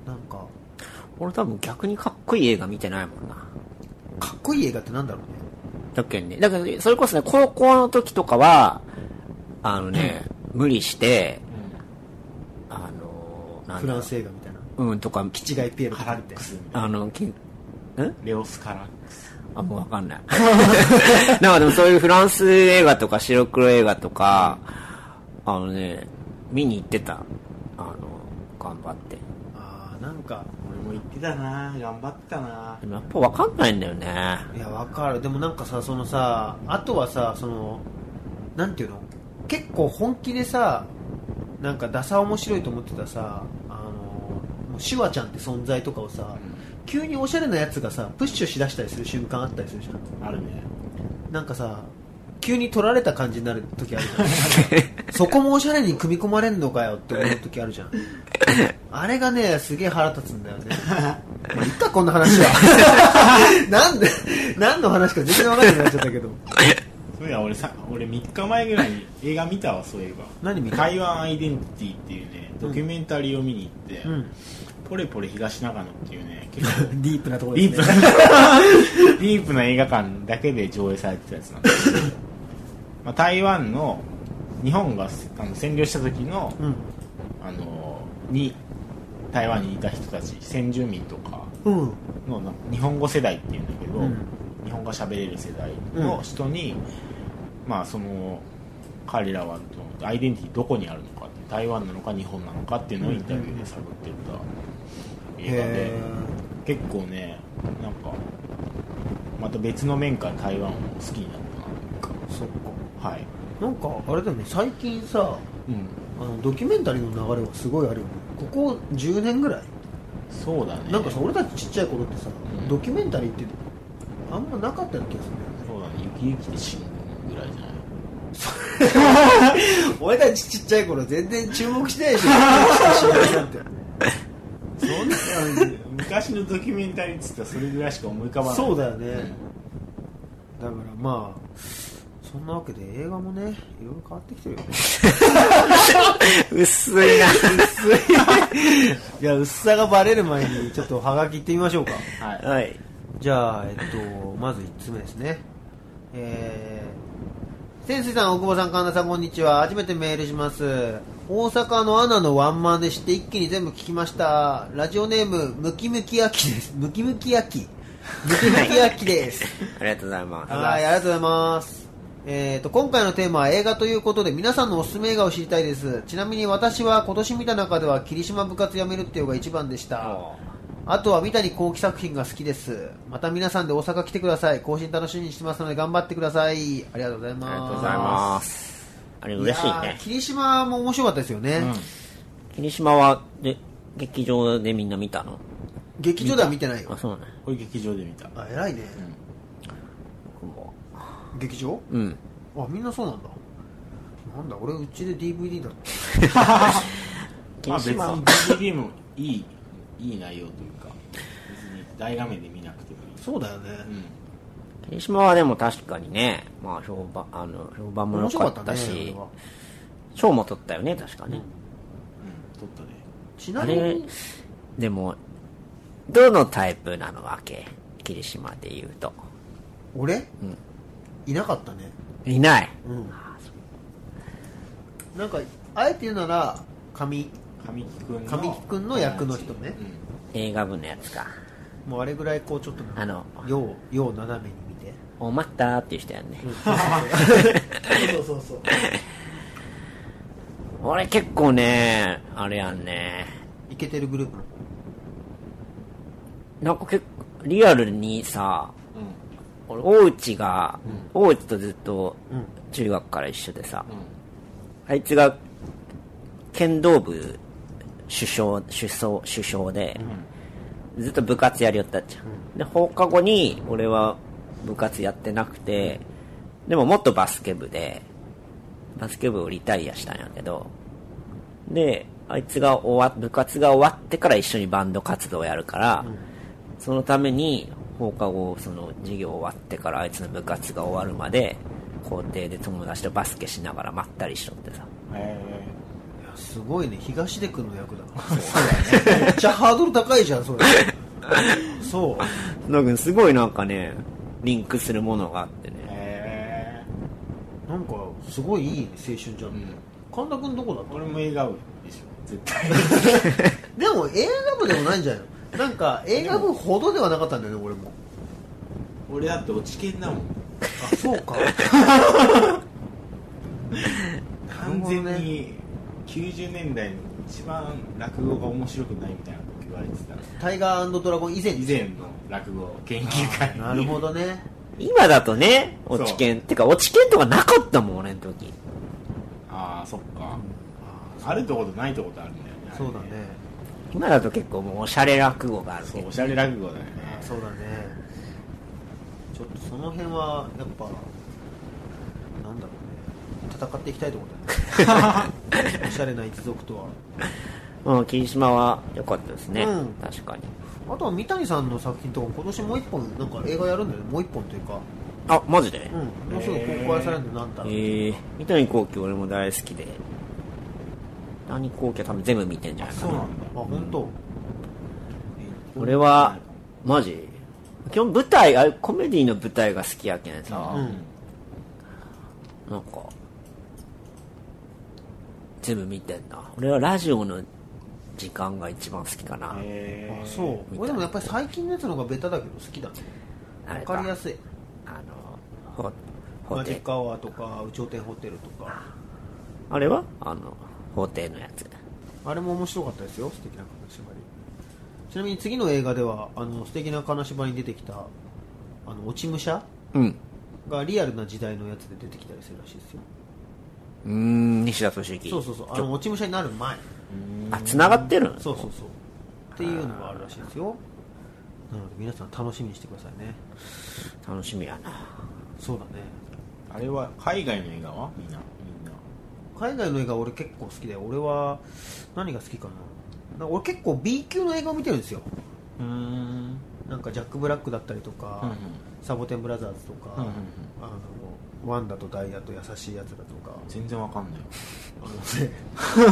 なんか俺多分逆にかっこいい映画見てないもんな。かっこいい映画ってなんだろうねだっけね。だから、それこそね、高校の時とかは、あのね、無理して、あの、なんだフランス映画みたいなうん、とか、キチガイピエロとカかラみッたいクなスみたいなあの、きんレオスカラックスあ、もうわかんない。 なんかでもそういうフランス映画とか白黒映画とか、あのね、見に行ってた。あの、頑張って。あーなんか俺も言ってたな頑張ってたなでもやっぱわかんないんだよね。いやわかるでもなんかさそのさあとはさそのなんていうの結構本気でさなんかダサ面白いと思ってたさあのもうシュワちゃんって存在とかをさ急におしゃれなやつがさプッシュしだしたりする瞬間あったりするじゃんあるねなんかさ急に取られた感じになる時あるじゃん そこもおしゃれに組み込まれんのかよって思う時あるじゃんあれがねすげえ腹立つんだよねまあいっかこんな話は なんで何の話か全然わかんなくなっちゃったけどそういや俺さ俺3日前ぐらいに映画見たわそういえば何見た台湾アイデンティティっていうねドキュメンタリーを見に行って、うんポレポレ東長野っていう ね、結構ディープなところデですィーねプな、ディープな映画館だけで上映されてたやつなんですけど、まあ、台湾の、日本があの占領した時の、あの、に、台湾にいた人たち、先住民とかうんうんのな日本語世代っていうんだけど、うん日本語喋れる世代の人に、まあその彼らはアイデンティティどこにあるのかって台湾なのか日本なのかっていうのをインタビューで探ってた映画で、へ結構ねなんかまた別の面から台湾を好きになったなというーそっかかはい、なんかあれだよね最近さうん、あのドキュメンタリーの流れがすごいあるよねここ10年ぐらいそうだねなんかさ俺たちちっちゃい頃ってさドキュメンタリーってあんまなかったような気がするんだよねそうだね雪雪で死ぬぐらいじゃない俺たちちっちゃい頃全然注目してないで しょそんな 昔のドキュメンタリーっつったらそれぐらいしか思い浮かばないそうだよね、だからまあそんなわけで映画もねいろいろ変わってきてるよね薄いな。いや薄さがバレる前にちょっとはがきいってみましょうかはいはい。じゃあ、えっと、まず1つ目ですね。えー、潜水さん、大久保さん、神田さん、こんにちは。初めてメールします。大阪のアナのワンマンで知って一気に全部聞きました。ラジオネーム、ムキムキヤキです。ムキムキヤキ。ムキムキヤキです。ありがとうございます。はい、ありがとうございます。えー、と今回のテーマは映画ということで皆さんのおすすめ映画を知りたいですちなみに私は今年見た中では霧島部活やめるっていうのが一番でしたあとは三谷幸喜作品が好きですまた皆さんで大阪来てください更新楽しみにしてますので頑張ってくださいありがとうございますありがとうございます。あれ嬉しいやーね。霧島も面白かったですよね、霧島は、で、劇場でみんな見たの劇場では見てないあ、よそうね。これ劇場で見たあ偉いね、僕も。劇場うん。あみんなそうなんだなんだ俺うちで DVD だったまあ霧別島に DVD もいい いい内容というか別に大画面で見なくてもいいそうだよね、霧島はでも確かにね、まあ評判、あの、評判も良面か白っかったねたしあれは、賞も取ったよね、確かね。うん撮ったねちあなみれに、でも、どのタイプなのわけ霧島で言うと。俺、いなかったねいない。なんかあえて言うなら神神木君の神木君の役の人ね映画部のやつか。もうあれぐらいこうちょっとあのようよう斜めに見てお待ったーっていう人やんね。 そうそうそう俺結構ね、あれやんね。いけてるグループのなんか結構、リアルにさ、俺、大内が、大内とずっと、中学から一緒でさ、あいつが、剣道部、首相、首相、首相で、ずっと部活やりよったじゃん。で、放課後に、俺は部活やってなくて、でももっとバスケ部で、バスケ部をリタイアしたんやけど、で、あいつが終わ、部活が終わってから一緒にバンド活動をやるから、そのために放課後、その授業終わってからあいつの部活が終わるまで、校庭で友達とバスケしながらまったりしとってさ。うんへいやすごいね東出君の役だ そうだねめっちゃハードル高いじゃん それそうなんかすごいなんかね、リンクするものがあってえね。へえなんかすごいいいね青春じゃん、神田君どこだった俺も映画部でしょ絶対でも映画部でもないんじゃないのなんか映画部ほどではなかったんだよね俺も俺だって落ち見だもんあそうか完全に90年代の一番落語が面白くないみたいなこと言われてたタイガードラゴン以前以前の落語研究会なるほどね今だとね、そう落ち券。てか、落ち券とかなかったもん、俺の時。 ああそっかあるとことないとことあるんだよねそうだね今だと結構もうおしゃれ落語があるそけうどおしゃれ落語だよねそうだねちょっとその辺はやっぱなんだろうね戦っていきたいところだねおしゃれな一族とはうん、霧島は良かったですね。うん確かに。あとは三谷さんの作品とか今年もう一本なんか映画やるんだよねもう一本というかあ、マジでうんもうすぐ公開されるんだよなんたらええー、三谷幸喜俺も大好きで。三谷幸喜は多分全部見てんじゃないかそうな。なんだあ本当。俺は、マジ基本舞台、あコメディの舞台が好きやけんさ、なんか、全部見てんな。俺はラジオの時間が一番好きかな。えあそう俺でもやっぱり最近のやつの方がベタだけど好きだねあれわかりやすいあの、ほ、法マジ廷ッ。クアワーとか有頂天ホテルとかあれはあの、法廷のやつ。あれも面白かったですよ素敵な金縛りちなみに次の映画ではあの素敵な金縛りに出てきたあの落ち武者うん。がリアルな時代のやつで出てきたりするらしいですようーん、西田敏行。そうそうそうあちょの落ち武者になる前あ、繋がってるそうそうそうっていうのがあるらしいですよなので皆さん楽しみにしてくださいね楽しみやな。そうだねあれは海外の映画はみんなみんな海外の映画俺結構好きで俺は何が好きかななんか俺結構 B 級の映画を見てるんですようんなんかジャック・ブラックだったりとか、うんうんサボテン・ブラザーズとか、うんうんうんあのワンダとダイヤと優しいやつだとか全然わかんないあ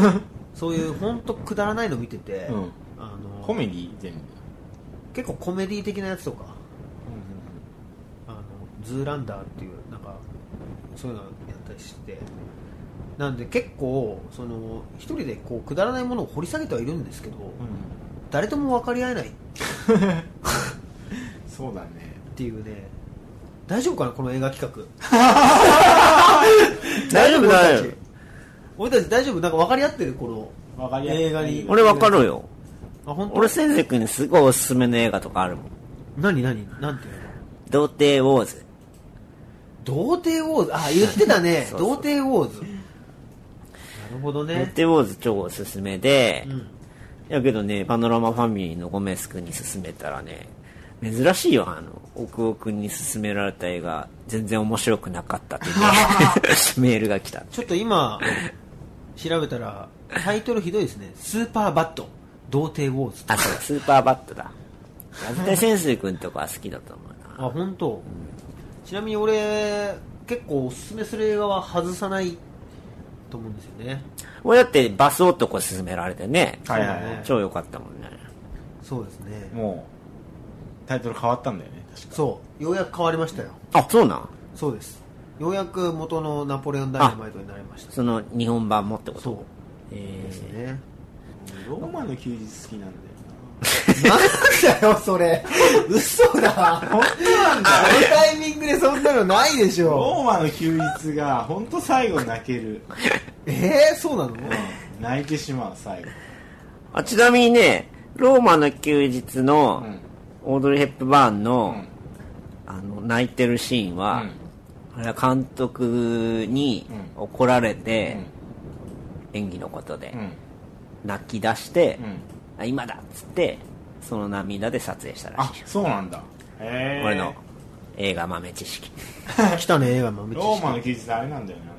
のね そういう本当くだらないの見てて、うんあのコメディ全部結構コメディ的なやつとかあのズーランダーっていうなんかそういうのやったりしてなんで結構その一人でこうくだらないものを掘り下げてはいるんですけど、誰とも分かり合えないっそうだねていう ね大丈夫かなこの映画企画大丈夫だよ。俺たち大丈夫なんか分かり合ってるこのわかりやすい映画に俺わかるよ。あ本当俺、先生君にすごいおすすめの映画とかあるもん。何何なんていうの童貞ウォーズ。童貞ウォーズあ言ってたね そうそう童貞ウォーズなるほど童ね貞ウォーズ超おすすめで、うんやけどね、パノラマファミリーのゴメス君に勧めたらね、珍しいよ、あの、奥尾君に勧められた映画、全然面白くなかったって ね、メールが来た。ちょっと今調べたらタイトルひどいですねスーパーバット童貞ウォーズあ、そうだ、スーパーバットだ。絶対先生君とかは好きだと思うな。あ本当。ちなみに俺結構おすすめする映画は外さないと思うんですよね俺だってバス男勧められてね、はいはいはい超良かったもんね。そうですねもうタイトル変わったんだよね確かそうようやく変わりましたよあ、そうなんそうですようやく元のナポレオンダイナマイトになりましたその日本版もってことそうえですー、ねローマの休日好きなんだよなんだよそれ嘘だ本当なんだあのタイミングでそんなのないでしなょローマの休日が本当最後泣けるえー、そうなのうん泣いてしまう最後あちなみにね、ローマの休日のうん、オードリー・ヘップバーンの、うんあの、泣いてるシーンは、あれは監督にう怒られて、演技のことで、うん泣き出して、うんあ今だっつって、その涙で撮影したらあしいよ。そうなんだへえ俺の映画豆知識。 来たね映画豆知ローマ識の休日あれなんだよねあの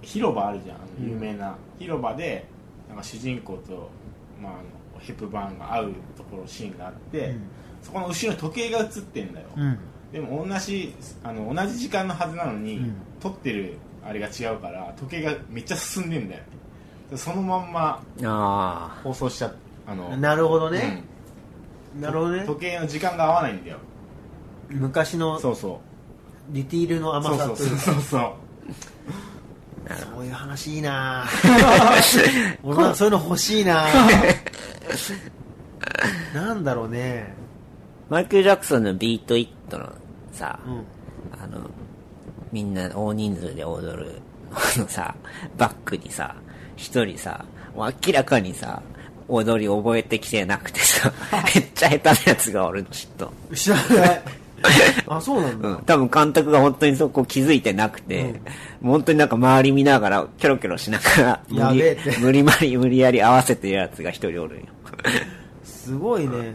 広場あるじゃんあの有名な、広場でなんか主人公と、まあ、あのヘプバーンが会うところシーンがあって、うんそこの後ろに時計が映ってんだよ、うんでも同じあの同じ時間のはずなのに、うん撮ってるあれが違うから時計がめっちゃ進んでんだよでそのまんまあ放送しちゃあのなるほどうんね、なるほどね時計の時間が合わないんだよ昔のそうそうディティールのそ甘うさそうというそうかそうそうそういう話いい なあ。俺はそういうの欲しい ななんだろう ねマイケル・ジャクソンのビート・イットのさ、うんあの、みんな大人数で踊る、あのさ、バックにさ、一人さ、もう明らかにさ、踊り覚えてきてなく てさ、めっちゃ下手なやつがおるの、ちょっと。知らないあそうなんだ、うん。多分監督が本当にそこ気づいてなくて、もう本当になんか周り見ながら、キョロキョロしながら、無や理べえって無理まり無理やり合わせてるやつが一人おるんよ。すごいね、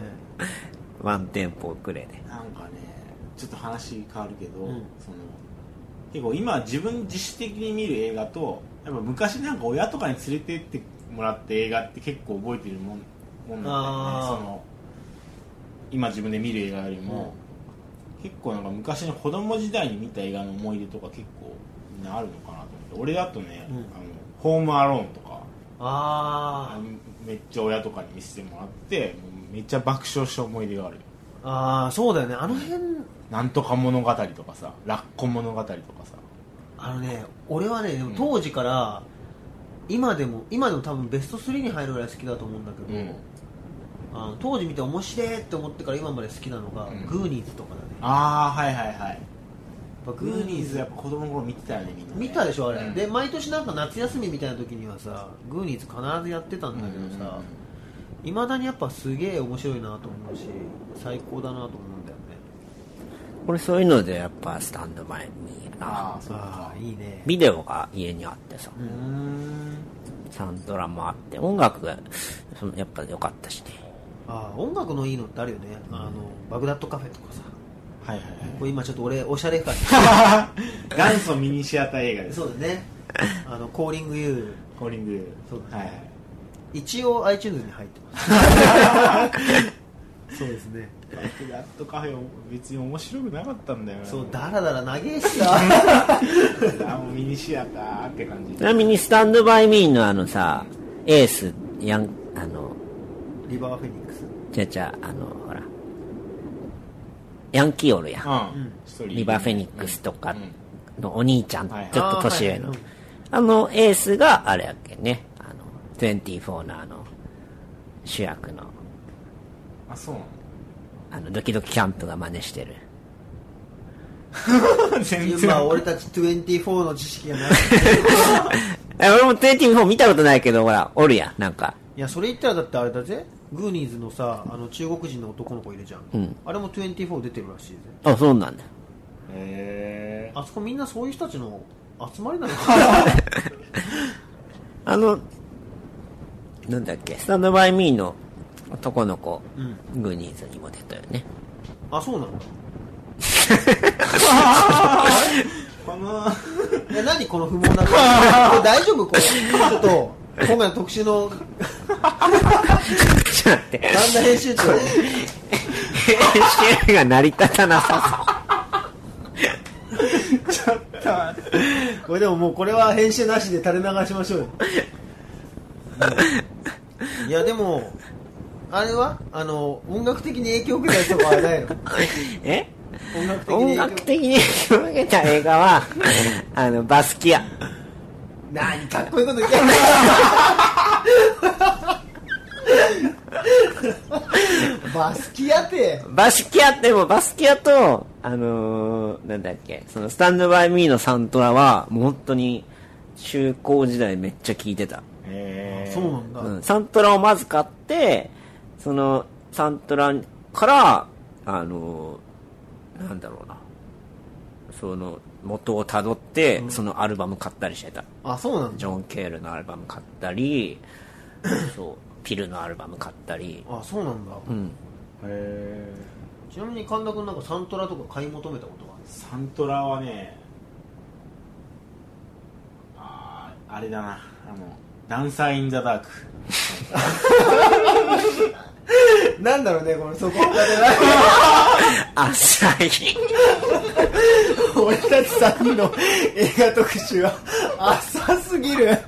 ワンテンポ遅れで。なんかねちょっと話変わるけど、うんその結構今自分自主的に見る映画とやっぱ昔なんか親とかに連れてってもらって映画って結構覚えてるもんもんなんだあよーねその今自分で見る映画よりも、結構なんか昔の子供時代に見た映画の思い出とか結構みんなあるのかなと思って俺だとね、うんあのホームアローンとかあめっちゃ親とかに見せてもらってもうめっちゃ爆笑した思い出があるよあああそうだよねあの辺なんとか物語とかさラッコ物語とかさあのね俺はねでも当時から、今でも今でも多分ベスト3に入るぐらい好きだと思うんだけど、うんあの当時見て面白いって思ってから今まで好きなのが、うんグーニーズとかだねやああはいはいはいっぱグーニーズやっぱ子供の頃見てたよねみんなね見たでしょあれ、うんで毎年なんか夏休みみたいな時にはさグーニーズ必ずやってたんだけどうんうんさうんいま、未だにやっぱすげえ面白いなと思うし最高だなと思うんだよねこれそういうのでやっぱスタンド前にあなあそうあかあいいねビデオが家にあってさ、うーんサンドラもあって音楽がそのやっぱ良かったしねああ音楽のいいのってあるよねあのバグダッドカフェとかさはいはいはいこれ今ちょっと俺おしゃれ感 元祖ミニシアター映画で すそうだねあのコーリング U コーリングそうですねはいはい一応 iTunes に入ってます そうですねバックダットカフェも別に面白くなかったんだよなそうダラダラ長えし さあもうミニシアターって感じちなみにスタンドバイミーのあのさエースやんあのリバーフェニックスじゃじゃあのほらヤンキーおるやんうん一人リバーフェニックスとかうんのお兄ちゃん、はいちょっと年上のああ,、ーはいのエースがあれやっけねあの24のあの主役のあそうなのあのドキドキキャンプが真似してる全今然俺たち24の知識がないえ俺も24見たことないけどほらおるやんなんかいやそれ言ったらだってあれだぜグーニーズのさあの中国人の男の子いるじゃん、うんあれも24出てるらしいぜあそうなんだへえあそこみんなそういう人たちの集まりなのかなあのなんだっけスタンドバイミーの男の子、うグーニーズにも出たよねあそうなんだこの え何この不毛な感じ大丈 夫これちょっと今回の特集のちょっと待って神田編集長編集が成り立たなさこれでももうこれは編集なしで垂れ流しましょうよいやでもあれはあの音楽的に影響を受けたやつとかはないの そうえ音楽的音に楽影響的に受けた映画 はあのバスキア何かっこいいこと言ってんのバスキアってバスキアでもバスキアとあのーなんだっけそのスタンドバイミーのサントラはもう本当に中高時代めっちゃ聴いてた、へえそうなんだ、うん、サントラをまず買ってそのサントラからあのーなんだろうなその元をたどって、そのアルバム買ったりしてたあそうなんジだョン・ケールのアルバム買った りそうピルのアルバム買ったりあそうなんだ、うんへえちなみに神田君なんかサントラとか買い求めたことはサントラはねあーあれだなあのダンサー・イン・ザ・ダークなんだろうねこのそこ浅い俺たち3人の映画特集は浅すぎるダン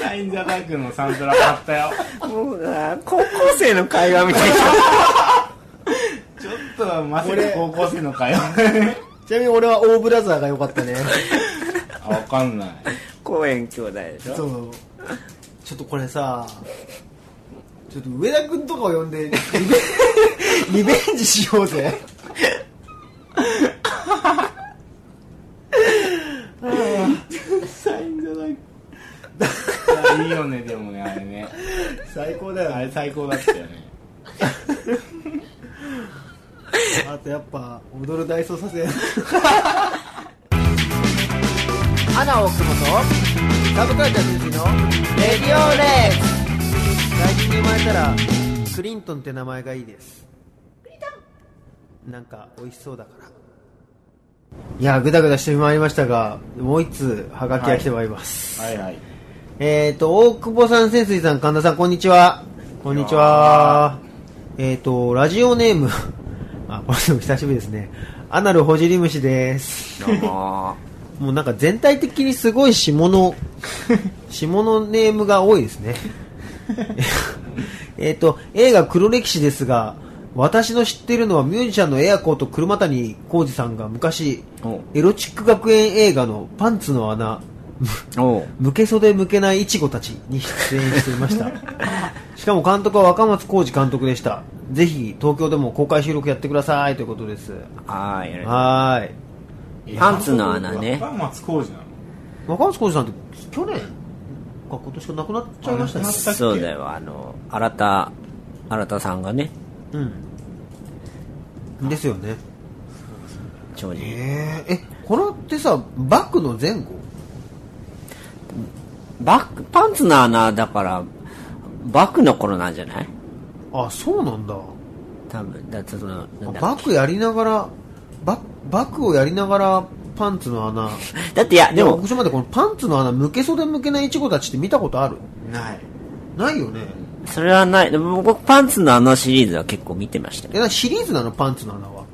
サー・イン・ザ・ダークのサントラ買ったよもうな高校生の会話みたいなちょっとまさか高校生の会話 ちなみに俺はオーブラザーが良かったねあわかんない公園兄弟でしょそうちょっとこれさちょっと上田君とかを呼んでリベ リベンジしようぜサイン・ザ・ダークいやいいよねでもねあれね最高だよあれ最高だったよねあとやっぱ踊る大捜査 線花を組むサブカルチャー鈴木のレディオレック最近に生まれたらクリントンって名前がいいですクリントンなんか美味しそうだからいやグダグダしてまいりましたがもう一通ハガキが来てまいります、はいはいえっ、と大久保さん潜水さん神田さんこんにちはこんにちはえっ、とラジオネーム あこの人も久しぶりですねアナルほじり虫ですどうももうなんか全体的にすごい下の、下のネームが多いですね。 えっと、映画黒歴史ですが、私の知っているのはミュージシャンのエアコーと車谷浩二さんが昔お、エロチック学園映画のパンツの穴、 おう向け袖向けないイチゴたちに出演していましたしかも監督は若松浩二監督でしたぜひ東京でも公開収録やってくださいということですはーい。はーいパンツの穴ねパンマツ工事なの若松浩二さんって去年か今年か亡くなっちゃいましたねあ亡くなったっけそうだよ、あの、新田、新田さんがね、うんですよね長寿。えー、えこれってさバックの前後バック、パンツの穴だから、バックの頃なんじゃないあそうなんだ多分、だってその、なんだバックやりながらババックをやりながらパンツの穴だっていや、ででもも僕、ちょっと待ってこのパンツの穴向け袖向けないイチゴたちって見たことあるないないよねそれはない。でも僕、パンツの穴シリーズは結構見てましたえね。なシリーズなのパンツの穴は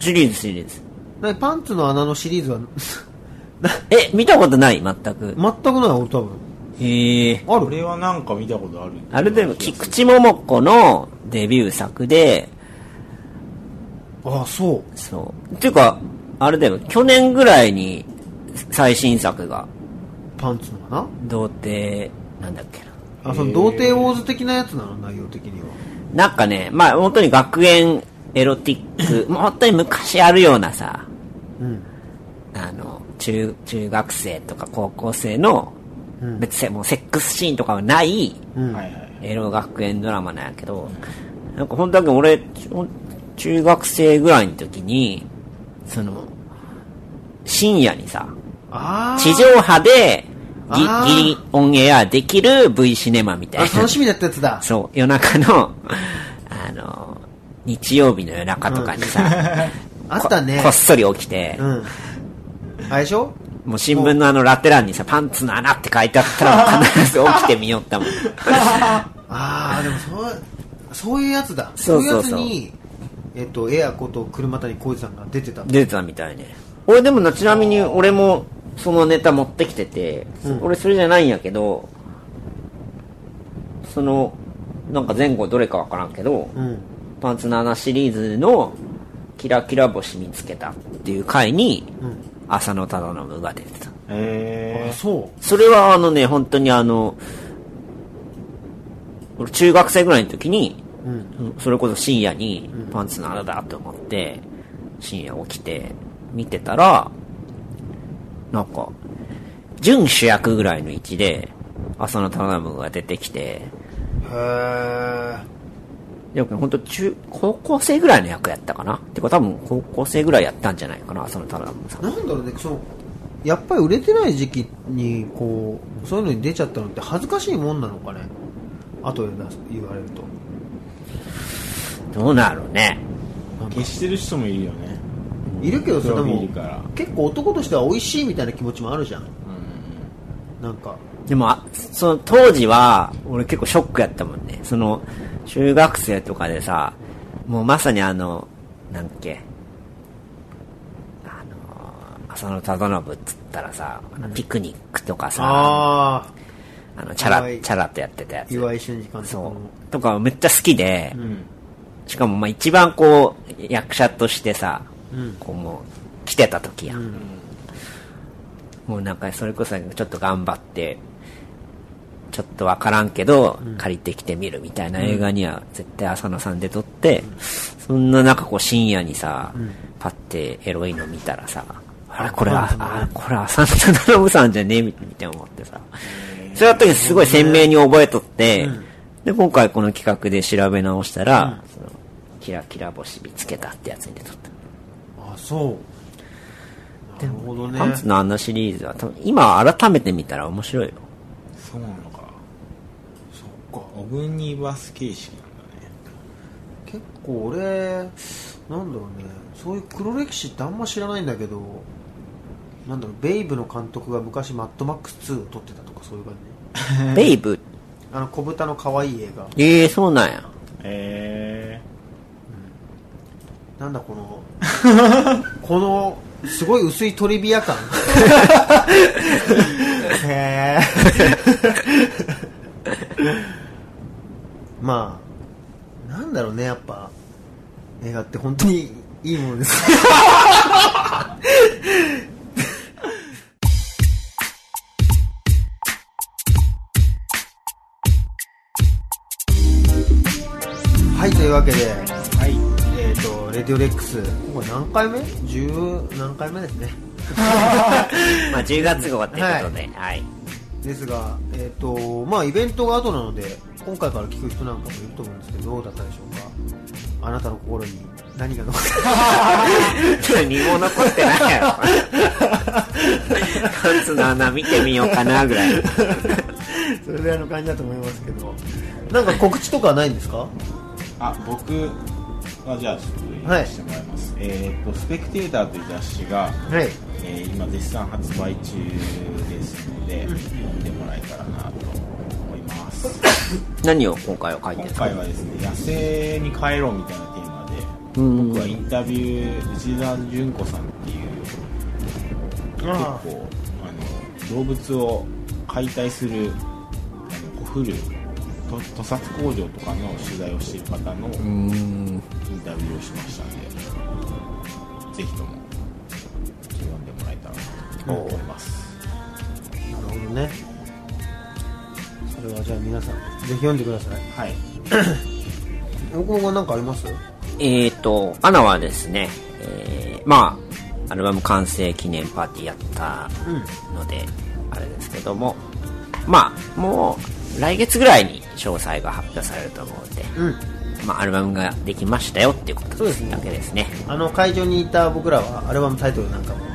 シリーズ、シリーズ。なパンツの穴のシリーズは え、見たことない全く。全くない俺多分へえ。あこるれはなんか見たことあるあれでも、菊池桃子のデビュー作で、ああそうそう。っていうか、あれだよ、去年ぐらいに最新作が、パンツの穴童貞、なんだっけな。あその童貞ウォーズ的なやつなの内容的にはなんかね、まあ本当に学園エロティ ック、もう本当に昔あるようなさ、うんあの、中、中学生とか高校生の、うん別にもうセックスシーンとかはない、うん、はいはいエロ学園ドラマなんやけど、なんか本当は俺、中中学生ぐらいの時に、その、深夜にさ、ああ地上波でギあーギリオンエアできる V シネマみたいな。あ楽しみだったやつだそう、夜中の、 あの、日曜日の夜中とかにさ、 あったねここっそり起きて、うんあれでしょもう新聞のあのラテ欄にさ、パンツの穴って書いてあったらもう必ず起きてみよっ たもん。ああでもそうそういうやつだそうそうそういうやつにえっとエアこと車谷浩二さんが出てたんだ出てたみたいね。俺でもな、ちなみに俺もそのネタ持ってきてて、うん俺それじゃないんやけど、その、なんか前後どれかわからんけど、うんパンツの穴シリーズの「キラキラ星見つけた」っていう回にうん浅野忠信が出てたあえそうそれはあのね本当にあの俺中学生ぐらいの時にうんそれこそ深夜にパンツの穴だと思って深夜起きて見てたらなんか準主役ぐらいの位置で浅野忠信が出てきてへえでも本当中、高校生ぐらいの役やったかなてか多分高校生ぐらいやったんじゃないかな、その田中さん。なんだろうねそのやっぱり売れてない時期にこうそういうのに出ちゃったのって恥ずかしいもんなのかね後でな言われるとどうなるね。なんか消してる人もいるよねいるけどさでプロフィーもルから結構男としては美味しいみたいな気持ちもあるじゃんなんかでも、あその当時は、俺結構ショックやったもんね。その、中学生とかでさ、もうまさにあの、なんっけ、あの、浅野忠信っつったらさ、あのピクニックとかさ、あああの、チャラは、いチャラとやってたやつ。岩井俊二監督そのう。とかめっちゃ好きで、うんしかもまあ一番こう役者としてさ、うんこうもう来てた時や、、うんんもうなんかそれこそちょっと頑張ってちょっとわからんけど、借りてきてみるみたいな映画には絶対浅野さんで撮って、そんななんかこう深夜にさ、パッてエロいの見たらさあれこれは、あこれ浅野忠信さんじゃねえみたいな思ってさ、それやった時すごい鮮明に覚えとって、で、今回この企画で調べ直したら、そのキラキラ星見つけたってやつに出とった。あそうなるほどねパンツのあんなシリーズは、多分今改めて見たら面白いよ。そうなのかそっかオグニバス形式なんだね結構俺なんだろうねそういう黒歴史ってあんま知らないんだけどなんだろうベイブの監督が昔マッドマックス2を撮ってたとかそういう感じベイブ。あの小豚の可愛い映画ええそうなんや。えなんだこのこのすごい薄いトリビア感。へ まあ、なんだろうね、やっぱ、映画って本当にいいものです。はい、というわけで、はい、えっ、と、レディオレックス、これ何回目十何回目ですね。まあ、10月号ってことで、はい。 ですが、えっ、と、まあ、イベントが後なので、今回から聞く人なんかもいると思うんですけど、どうだったでしょうか。あなたの心に何が残った何も残ってないやろ。 カツの穴見てみようかな、ぐらい。 それぐらいの感じだと思いますけどなんか告知とかはないんですかあ僕はじゃあちょっと言わせてもらいます、えーっと「スペクテーター」という雑誌が、はいえー今絶賛発売中ですので読んでもらえたらなと思います何を今回は書いてるん今ですか回はですね野生に帰ろうみたいなテーマで、うん僕はインタビュー内田純子さんっていう結構あの動物を解体するあの古ると屠殺工場とかの取材をしている方のインタビューをしましたんでぜひとも読んでもらえたらなと思いますなるほどねそれはじゃあ皆さんぜひ読んでくださいはい僕も何かありますえーと、アナはですね、えーまあ、アルバム完成記念パーティーやったので、あれですけども、まあ、もう、来月ぐらいに詳細が発表されると思うんで、うんまあ、アルバムができましたよっていうことそうですねだけですね。あの会場にいた僕らはアルバムタイトルなんかも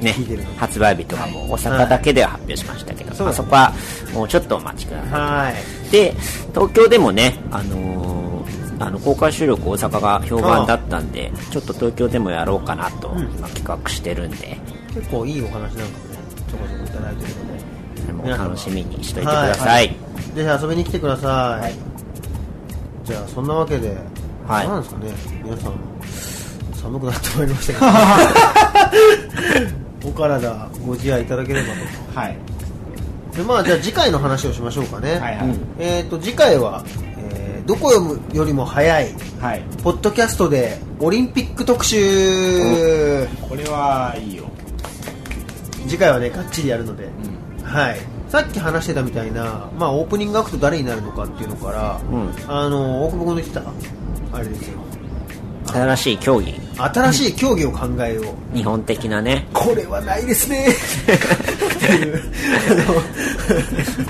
ね聞いてるの、で発売日とかも大阪だけでは発表しましたけど、そうまあそこはもうちょっとお待ちください。はいで東京でもね、あのーあの公開収録大阪が評判だったんでちょっと東京でもやろうかなと、今企画してるんで結構いいお話なんかもねちょこちょこいただいてるのでそれも皆様楽しみにしといてくださいぜひ遊びに来てください、じゃあそんなわけで、はいなんですかね皆さん寒くなってまいりましたけ どお体ご自愛いただければとはいでまあじゃあ次回の話をしましょうかね、はいはいえっ、と次回は、えーどこ読むよりも早いはいポッドキャストでオリンピック特集これはい いよ次回はねがっちりやるので、はいさっき話してたみたいな、まあ、オープニングアクト誰になるのかっていうのから、んあの大久保君の言ってたあれですよ新しい競技新しい競技を考えよう、日本的なねこれはないですねっていうあ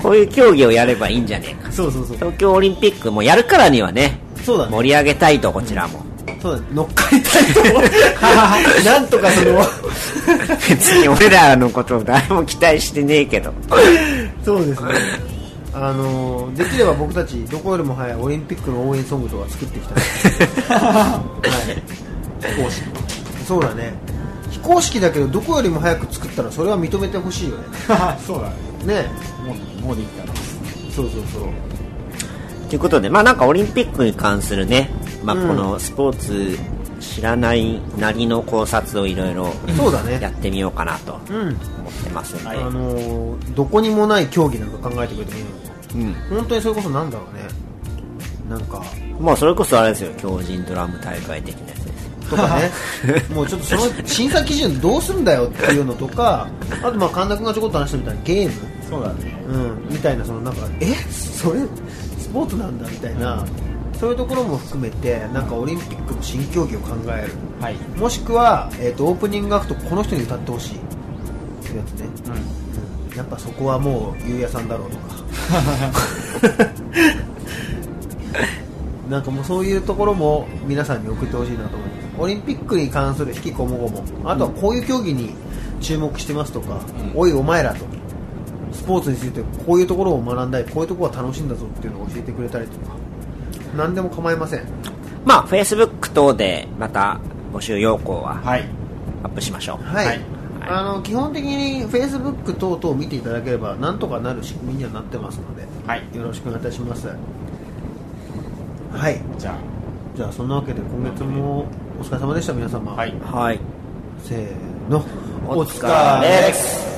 こういう競技をやればいいんじゃねえかのそうそうそう東京オリンピックもやるからにはねそうだね盛り上げたいとこちらもそうだね乗っかりたいと思うなんとかその 別に俺らのこと誰も期待してねえ けどそうですねあのできれば僕たちどこよりも早いオリンピックの応援ソングとか作っていきたい、はい、非公式そうだね非公式だけどどこよりも早く作ったらそれは認めてほしいよねそうだねねもうもうできたのそうそうそうということで、まあ、なんかオリンピックに関するね、まあ、うんこのスポーツ知らないなりの考察をいろいろそうだねやってみようかなと思うんってますんで、あのーどこにもない競技なんか考えてくれてもいいのうん本当にそれこそなんだろうねなんかまあ、それこそあれですよ強靭ドラム大会的なやつでとすか ねもうちょっとその審査基準どうすんだよっていうのとかあとまあ神田君がちょこっと話したみたいなゲームそうだねうん、みたいなそのなんかえそれスポーツなんだみたいな、そういうところも含めてなんかオリンピックの新競技を考える、はいもしくは、えー、とオープニングアクトこの人に歌ってほしいってやつね、うんやっぱそこはもうゆうやさんだろうとかなんかもうそういうところも皆さんに送ってほしいなと思いますオリンピックに関する引きこもごもあとはこういう競技に注目してますとか、おいお前らとスポーツについてこういうところを学んだりこういうところは楽しいんだぞっていうのを教えてくれたりとか何でも構いませんまあ Facebook 等でまた募集要項ははいアップしましょうはい、はいあの基本的に Facebook 等々見ていただければなんとかなる仕組みにはなってますので、はいよろしくお願いいたしますはいじゃじゃあそんなわけで今月もお疲れ様でした皆様あはいはいせーののお疲れっす